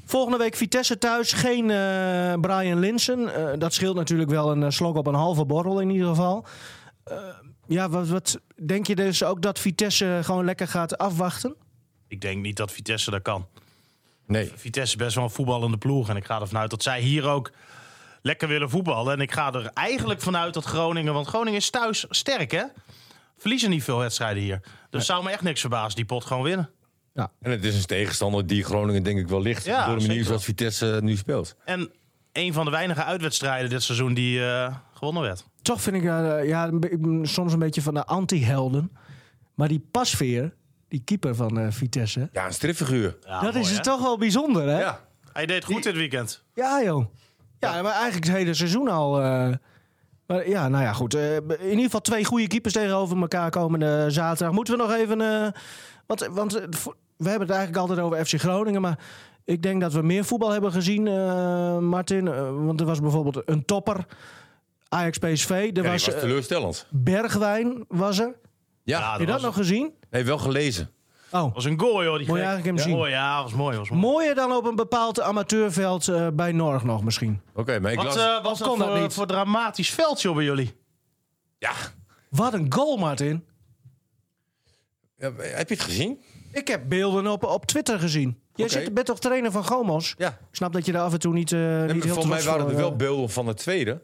S2: Volgende week Vitesse thuis. Geen eh, Brian Linsen. Eh, dat scheelt natuurlijk wel een eh, slok op een halve borrel in ieder geval. Eh, ja, wat, wat denk je dus ook dat Vitesse gewoon lekker gaat afwachten?
S1: Ik denk niet dat Vitesse dat kan.
S3: Nee.
S1: Vitesse is best wel een voetballende ploeg. En ik ga ervan uit dat zij hier ook lekker willen voetballen. En ik ga er eigenlijk vanuit dat Groningen... Want Groningen is thuis sterk, hè? Verliezen niet veel wedstrijden hier. Dus zou me echt niks verbazen. Die pot gewoon winnen.
S3: En het is een tegenstander die Groningen denk ik wel ligt. door
S1: Ja,
S3: de
S1: zeker
S3: manier
S1: wel.
S3: zoals Vitesse nu speelt.
S1: En een van de weinige uitwedstrijden dit seizoen die eh, gewonnen werd.
S2: Toch vind ik eh, ja, een be- ik ben soms een beetje van de anti-helden. Maar die pasveer, die keeper van eh, Vitesse.
S3: Ja, een stripfiguur.
S1: Ja,
S2: dat
S1: Ah, mooi,
S2: is
S1: hè?
S2: het toch wel bijzonder, hè?
S3: Ja.
S1: Hij deed goed dit weekend.
S2: Ja, joh. Ja, maar eigenlijk het hele seizoen al. eh. maar ja, nou ja, goed. Eh, in ieder geval twee goede keepers tegenover elkaar komende zaterdag. Moeten we nog even... eh, want want eh, vo- we hebben het eigenlijk altijd over FC Groningen, maar... Ik denk dat we meer voetbal hebben gezien, eh, Martin. Eh, want er was bijvoorbeeld een topper, Ajax PSV. Er
S3: Ja, die
S2: was,
S3: was
S2: eh,
S3: teleurstellend.
S2: Bergwijn, was er. Heb
S1: Ja,
S3: Ja,
S1: dat
S2: je dat
S1: was,
S2: nog gezien?
S3: nee, wel gelezen.
S2: Oh,
S1: was een goal, joh. Die
S2: Mooi
S1: gek.
S2: eigenlijk hem
S1: ja.
S2: zien.
S1: Mooi, ja, was mooi. Was mooi.
S2: mooier dan op een bepaald amateurveld eh, bij Norg nog misschien.
S3: Oké, maar ik
S1: Wat
S3: las...
S1: eh, was
S2: Of
S1: dat
S2: kon dat
S1: voor,
S2: niet?
S1: voor dramatisch veldje bij jullie?
S3: ja.
S2: Wat een goal, Martin.
S3: Ja, Heb je het gezien?
S2: Ik heb beelden op, op Twitter gezien. Jij
S3: Oké.
S2: zit, bent toch trainer van Gomos?
S3: Ja.
S2: Ik snap dat je daar af en toe niet, eh
S3: En
S2: niet heel
S3: volgens mij
S2: trots
S3: waren
S2: voor,
S3: er wel
S2: eh,
S3: beelden van de tweede.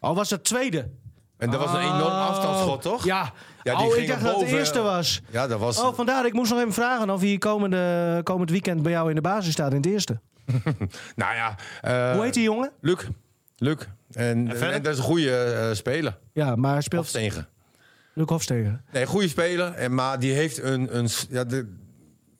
S2: Oh, was dat tweede?
S3: En dat was een enorm afstandsschot, Oh. toch?
S2: Oh. Ja.
S3: Ja, die
S2: oh, ik
S3: ging
S2: dacht dat het
S3: boven,
S2: eerste
S3: eh,
S2: was.
S3: Ja, dat was...
S2: Oh, vandaar. Ik moest nog even vragen of hij komende, komend weekend bij jou in de basis staat in het eerste.
S3: nou ja. eh,
S2: Hoe heet die jongen?
S3: Luc. Luc. En,
S1: verder?
S3: en dat is een goede eh, speler.
S2: Ja, maar
S3: Of
S2: speelt
S3: Stegen.
S2: Luc Hofstegen.
S3: Nee, goede speler. En, maar die heeft een. een s- ja, de,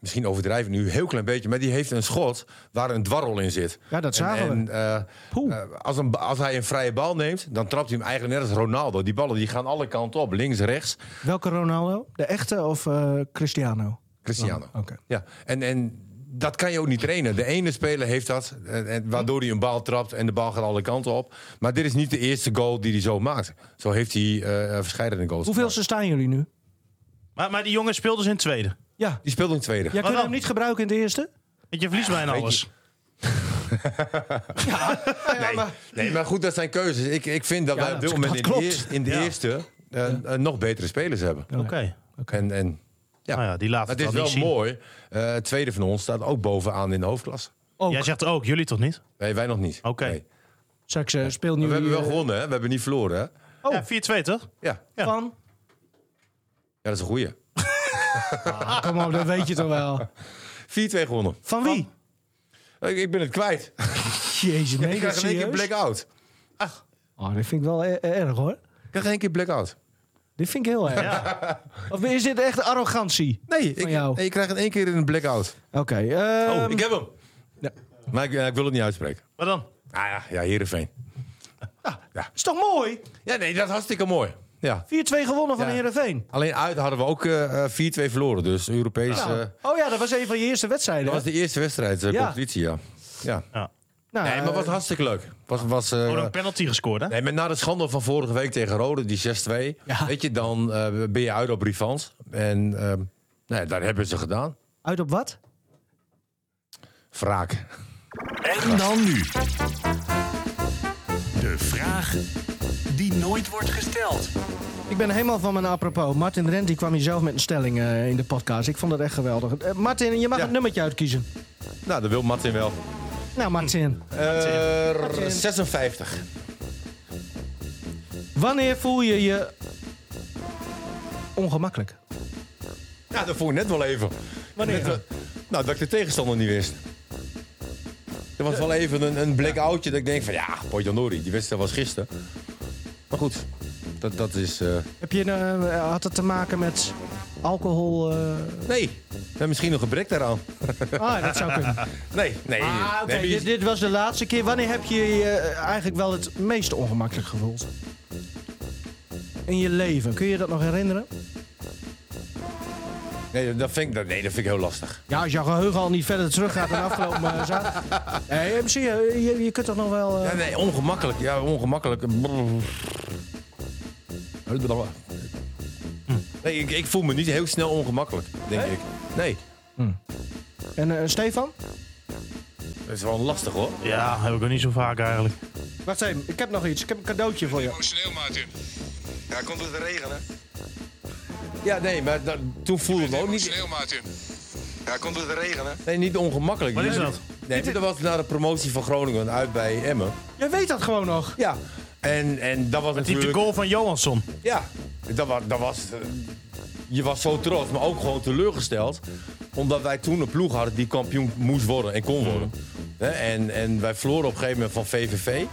S3: misschien overdrijf ik nu een heel klein beetje. Maar die heeft een schot waar een dwarrel in zit.
S2: Ja, dat
S3: En-
S2: zagen
S3: en,
S2: we.
S3: eh,
S2: Poeh.
S3: eh, als, een, ba- als hij een vrije bal neemt, dan trapt hij hem eigenlijk net als Ronaldo. Die ballen die gaan alle kanten op. Links, rechts.
S2: Welke Ronaldo? De echte of eh, Cristiano?
S3: Cristiano.
S2: Oh, oké.
S3: Ja, en, en dat kan je ook niet trainen. De ene speler heeft dat, en, en waardoor hij een bal trapt en de bal gaat alle kanten op. Maar dit is niet de eerste goal die hij zo maakt. Zo heeft hij eh, verschillende goals.
S2: Hoeveel
S3: gemaakt.
S2: ze staan jullie nu?
S1: Maar, maar die jongen speelt dus in het tweede.
S2: Ja.
S3: Die speelde in het tweede.
S2: Jij kunt
S1: dan?
S2: hem niet gebruiken in de eerste?
S1: Want je verliest bijna
S3: weet
S1: alles.
S3: nee, maar, nee, maar goed, dat zijn keuzes. Ik, ik vind dat
S2: Ja,
S3: wij op dit
S2: dat
S3: moment in de,
S2: klopt.
S3: eer- in de
S1: Ja.
S3: eerste eh, eh, nog betere spelers hebben.
S1: Oké.
S3: En, en ja.
S1: Nou ja, die laten
S3: Maar
S1: het
S3: het is
S1: wel
S3: wel
S1: niet zien.
S3: mooi. Eh, het tweede van ons staat ook bovenaan in de hoofdklasse.
S2: Ook.
S1: Jij zegt ook, jullie toch niet?
S3: Nee, wij nog niet.
S1: Oké.
S3: Nee.
S2: Zeg, ze speelt nu
S3: Maar we hebben wel
S2: eh,
S3: gewonnen, hè? We hebben niet verloren, hè?
S2: Oh.
S1: Ja, 4-2 toch?
S3: Ja, ja
S1: Ja.
S2: van.
S3: dat is een goeie. 4-2
S2: Ah, kom op, dat weet je toch wel.
S3: gewonnen.
S2: Van wie?
S3: Ik, ik ben het kwijt.
S2: Jezus,
S3: ik
S2: mega
S3: krijg in één keer
S2: serieus.
S3: blackout.
S2: Oh, dit vind ik wel e- erg hoor.
S3: Ik krijg in één keer blackout.
S2: Dit vind ik heel erg. Of is dit echt arrogantie?
S3: Nee, ik,
S2: Van jou.
S3: nee, ik krijg in één keer een blackout.
S2: Oké. ehm,
S3: Oh, ik heb hem.
S2: Ja.
S3: Maar ik, eh, ik wil het niet uitspreken.
S1: Maar dan?
S3: Ah ja, ja, Heerenveen.
S2: Is toch mooi? 4-2
S3: Ja, nee, dat is hartstikke mooi. Ja.
S2: gewonnen van
S3: Ja.
S2: Heerenveen.
S3: Alleen uit hadden we ook eh, eh, 4-2 verloren. Dus Europees... eh,
S2: Oh ja, dat was een van je eerste wedstrijden.
S3: dat was de eerste wedstrijd, eh
S2: Ja.
S3: competitie, ja. ja.
S1: Ja.
S2: Nou,
S3: Nee, maar het was
S2: eh,
S3: hartstikke leuk. Was, was, eh,
S1: Oh, een penalty gescoord, hè?
S3: nee, maar na de schande van vorige week tegen Rode, die 6-2...
S2: Ja.
S3: Weet je, dan eh, ben je uit op Rivans. En ehm nee, daar hebben ze gedaan.
S2: Uit op wat?
S3: Wraak.
S6: En dan nu. De vraag die nooit wordt gesteld.
S2: Ik ben helemaal van mijn apropos. Martin Rent die kwam hier zelf met een stelling eh, in de podcast. Ik vond dat echt geweldig. Eh, Martin, je mag
S3: Ja.
S2: een nummertje uitkiezen.
S3: Nou, dat wil Martin wel.
S2: Nou, Martin.
S3: Eh,
S2: Martin.
S3: 56.
S2: Wanneer voel je je ongemakkelijk?
S3: Ja, dat voel ik net wel even. Net wel- nou, dat ik de tegenstander niet wist. Er was wel even een, een blackoutje dat ik denk van ja, Potjandori, die wedstrijd was gisteren. Maar goed, dat, dat is... eh,
S2: Heb je, eh, had het te maken met alcohol? eh?
S3: nee, we hebben misschien een gebrek daaraan.
S2: Ah, dat zou kunnen.
S3: Nee, nee.
S2: Ah, oké.
S3: nee, maar je-
S2: dit, dit was de laatste keer. Wanneer heb je je eh, eigenlijk wel het meest ongemakkelijk gevoeld? In je leven. Kun je dat nog herinneren?
S3: nee, dat vind ik, dat- nee, dat vind ik heel lastig.
S2: Ja, als jouw geheugen al niet verder terug gaat dan afgelopen eh, zaterdag. *laughs* Nee, zie je, je, je kunt toch nog wel... eh,
S3: Ja, nee, ongemakkelijk. Ja, ongemakkelijk.
S2: Hm.
S3: Nee, ik, ik voel me niet heel snel ongemakkelijk, denk ik. Nee,
S2: En eh, Stefan?
S3: dat is wel lastig hoor.
S1: Ja, heb ik ook niet zo vaak eigenlijk.
S2: Wacht even, ik heb nog iets. Ik heb een cadeautje voor je.
S7: Emotioneel, Martin. Ja, komt door de regen, hè?
S3: Ja, nee, maar dat, toen voelde ik me ook niet,
S7: Emotioneel, Martin. Ja, komt door de regen, hè?
S3: nee, niet ongemakkelijk.
S1: Wat is
S3: Nee,
S1: dat?
S3: Nee, maar dat was na de promotie van Groningen uit bij Emmen.
S2: Je weet dat gewoon nog.
S3: Ja. En, en dat was
S1: Typ de
S3: natuurlijk...
S1: goal van Johansson.
S3: Ja, dat was... Dat was eh, je was zo trots, maar ook gewoon teleurgesteld. Omdat wij toen een ploeg hadden die kampioen moest worden en kon worden. Hè, En, en wij verloren op een gegeven moment van VVV.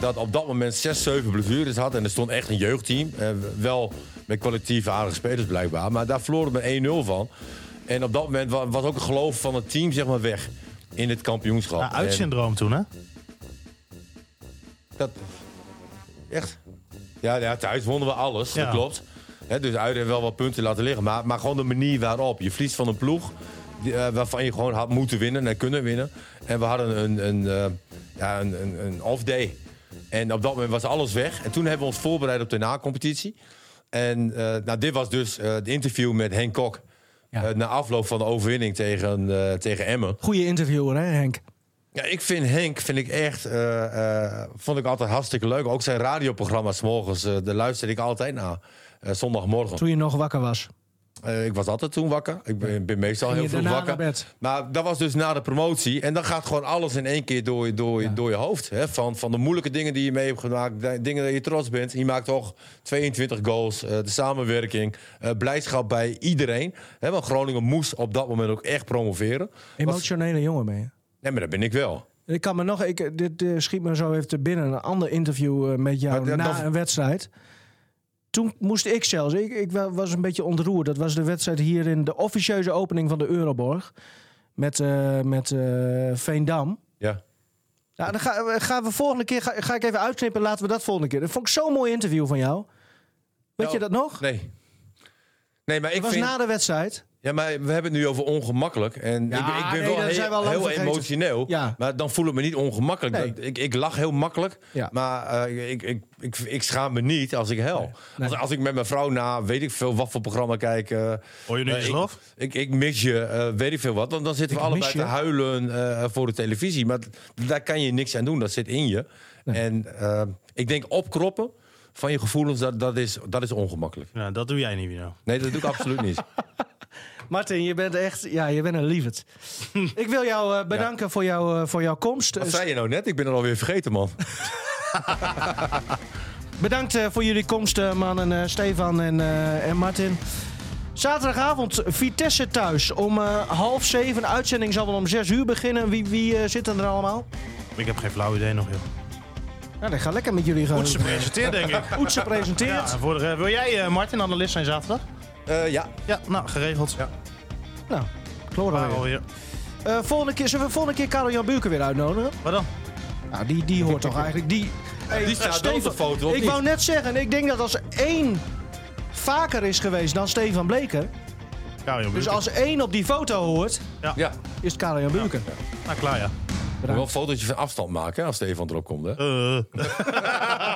S3: Dat op dat moment 6, 7 blessures had. En er stond echt een jeugdteam. Eh, wel met collectieve aardige spelers blijkbaar. Maar daar verloren we 1-0 van. En op dat moment wa- was ook het geloof van het team zeg maar, weg. In het kampioenschap.
S1: Ja,
S3: En-
S1: uitsyndroom toen, hè?
S3: Dat... Echt? Ja, ja, thuis wonnen we alles,
S1: Ja.
S3: dat klopt. Hè, dus uit en wel wat punten laten liggen. Maar, maar gewoon de manier waarop. Je verliest van een ploeg die, eh, waarvan je gewoon had moeten winnen en kunnen winnen. En we hadden een, een, eh, ja, een, een, een off day. En op dat moment was alles weg. En toen hebben we ons voorbereid op de na-competitie. En eh, nou, dit was dus eh, het interview met Henk Kok. Eh, na afloop van de overwinning tegen, eh, tegen Emmen.
S2: Goeie interviewer, hè Henk?
S3: Ja, ik vind Henk vind ik echt, eh, eh, vond ik altijd hartstikke leuk. Ook zijn radioprogramma's 's morgens, eh daar luister ik altijd naar. Eh, zondagmorgen.
S2: Toen je nog wakker was.
S3: Eh, ik was altijd toen wakker. Ik ben, ben meestal
S2: Ging
S3: heel
S2: je
S3: veel
S2: daarna
S3: wakker.
S2: naar bed?
S3: Maar dat was dus na de promotie. En dan gaat gewoon alles in één keer door, je- door, je- door je hoofd. Hè? Van, van de moeilijke dingen die je mee hebt gemaakt. de- Dingen dat je trots bent. Je maakt toch 22 goals. eh, de samenwerking. eh, blijdschap bij iedereen. Hè? Want Groningen moest op dat moment ook echt promoveren. Was-
S2: Emotionele jongen ben je.
S3: Nee, maar dat ben ik wel.
S2: Ik kan me nog, ik, dit eh, schiet me zo even te binnen, een ander interview eh, met jou
S3: Maar dat-
S2: na
S3: dat-
S2: een wedstrijd. Toen moest ik zelfs, ik, ik wa- was een beetje ontroerd. Dat was de wedstrijd hier in de officieuze opening van de Euroborg. Met, eh, met eh, Veendam.
S3: Ja.
S2: Ja, dan ga- eh, gaan we volgende keer, ga, ga ik even uitknippen, laten we dat volgende keer. Dat vond ik zo'n mooi interview van jou. Weet
S3: Nou,
S2: je dat nog?
S3: Nee. Nee, maar ik
S2: Het was
S3: vind...
S2: na de wedstrijd.
S3: Ja, maar we hebben het nu over ongemakkelijk. En
S2: Ja,
S3: ik, ben- ik
S2: nee,
S3: ben wel
S2: dat zijn we al lang
S3: heel, heel
S2: vergeten.
S3: emotioneel.
S2: Ja.
S3: Maar dan voel ik me niet ongemakkelijk.
S2: Nee.
S3: Dat- Ik, ik lach heel makkelijk.
S2: Ja.
S3: Maar eh, ik, ik, ik, ik schaam me niet als ik hel.
S2: Nee.
S3: Als, als ik met mijn vrouw na weet ik veel wat voor programma kijk. eh,
S1: Hoor je nu
S3: eh,
S1: eens
S3: ik-
S1: lof?
S3: Ik, ik mis je, eh, weet ik veel wat. Dan, dan zitten we
S2: Ik mis
S3: allebei te
S2: je.
S3: huilen eh, voor de televisie. Maar d- daar kan je niks aan doen. Dat zit in je. En eh, ik denk opkroppen van je gevoelens, dat, dat, is, dat is ongemakkelijk.
S1: Nou, dat doe jij niet, Wino.
S3: Nee, dat doe ik absoluut *laughs* niet.
S2: Martin, je bent echt, ja, je bent een lieverd. ik wil jou eh, bedanken voor, jou, eh, voor jouw komst.
S3: Wat zei je nou net? Ik ben het alweer vergeten, man.
S2: Bedankt eh, voor jullie komst, eh, mannen eh, Stefan en, eh, en Martin. Zaterdagavond Vitesse thuis om eh, half zeven. Uitzending zal wel om zes uur beginnen. Wie, wie eh, zitten er allemaal?
S1: Ik heb geen flauw idee nog, joh.
S2: Ja, dat gaat lekker met jullie eh, gaan.
S1: Ze presenteert, denk ik.
S2: Oetse presenteert.
S1: Ja, voor de- wil jij, eh, Martin, analist zijn zaterdag?
S3: Eh, ja,
S1: Ja, nou, geregeld. Ja,
S2: Nou, klopt weer.
S1: alweer.
S2: Eh, volgende keer zullen we volgende keer Karel Jan Buurken weer uitnodigen.
S1: Wat dan?
S2: Nou, die, die hoort toch eigenlijk. Die, Hey,
S3: die staat wel op de foto, of
S2: Ik
S3: niet?
S2: wou net zeggen, ik denk dat als één vaker is geweest dan Stefan Bleker.
S1: Karel
S2: Dus
S1: Jan Buurken.
S2: als één op die foto hoort,
S3: ja.
S2: is het Karel Jan Buurken.
S1: Nou, klaar, ja.
S3: Moet wel een fotootje van afstand maken hè, als Stefan erop komt. Hè?
S1: Eh.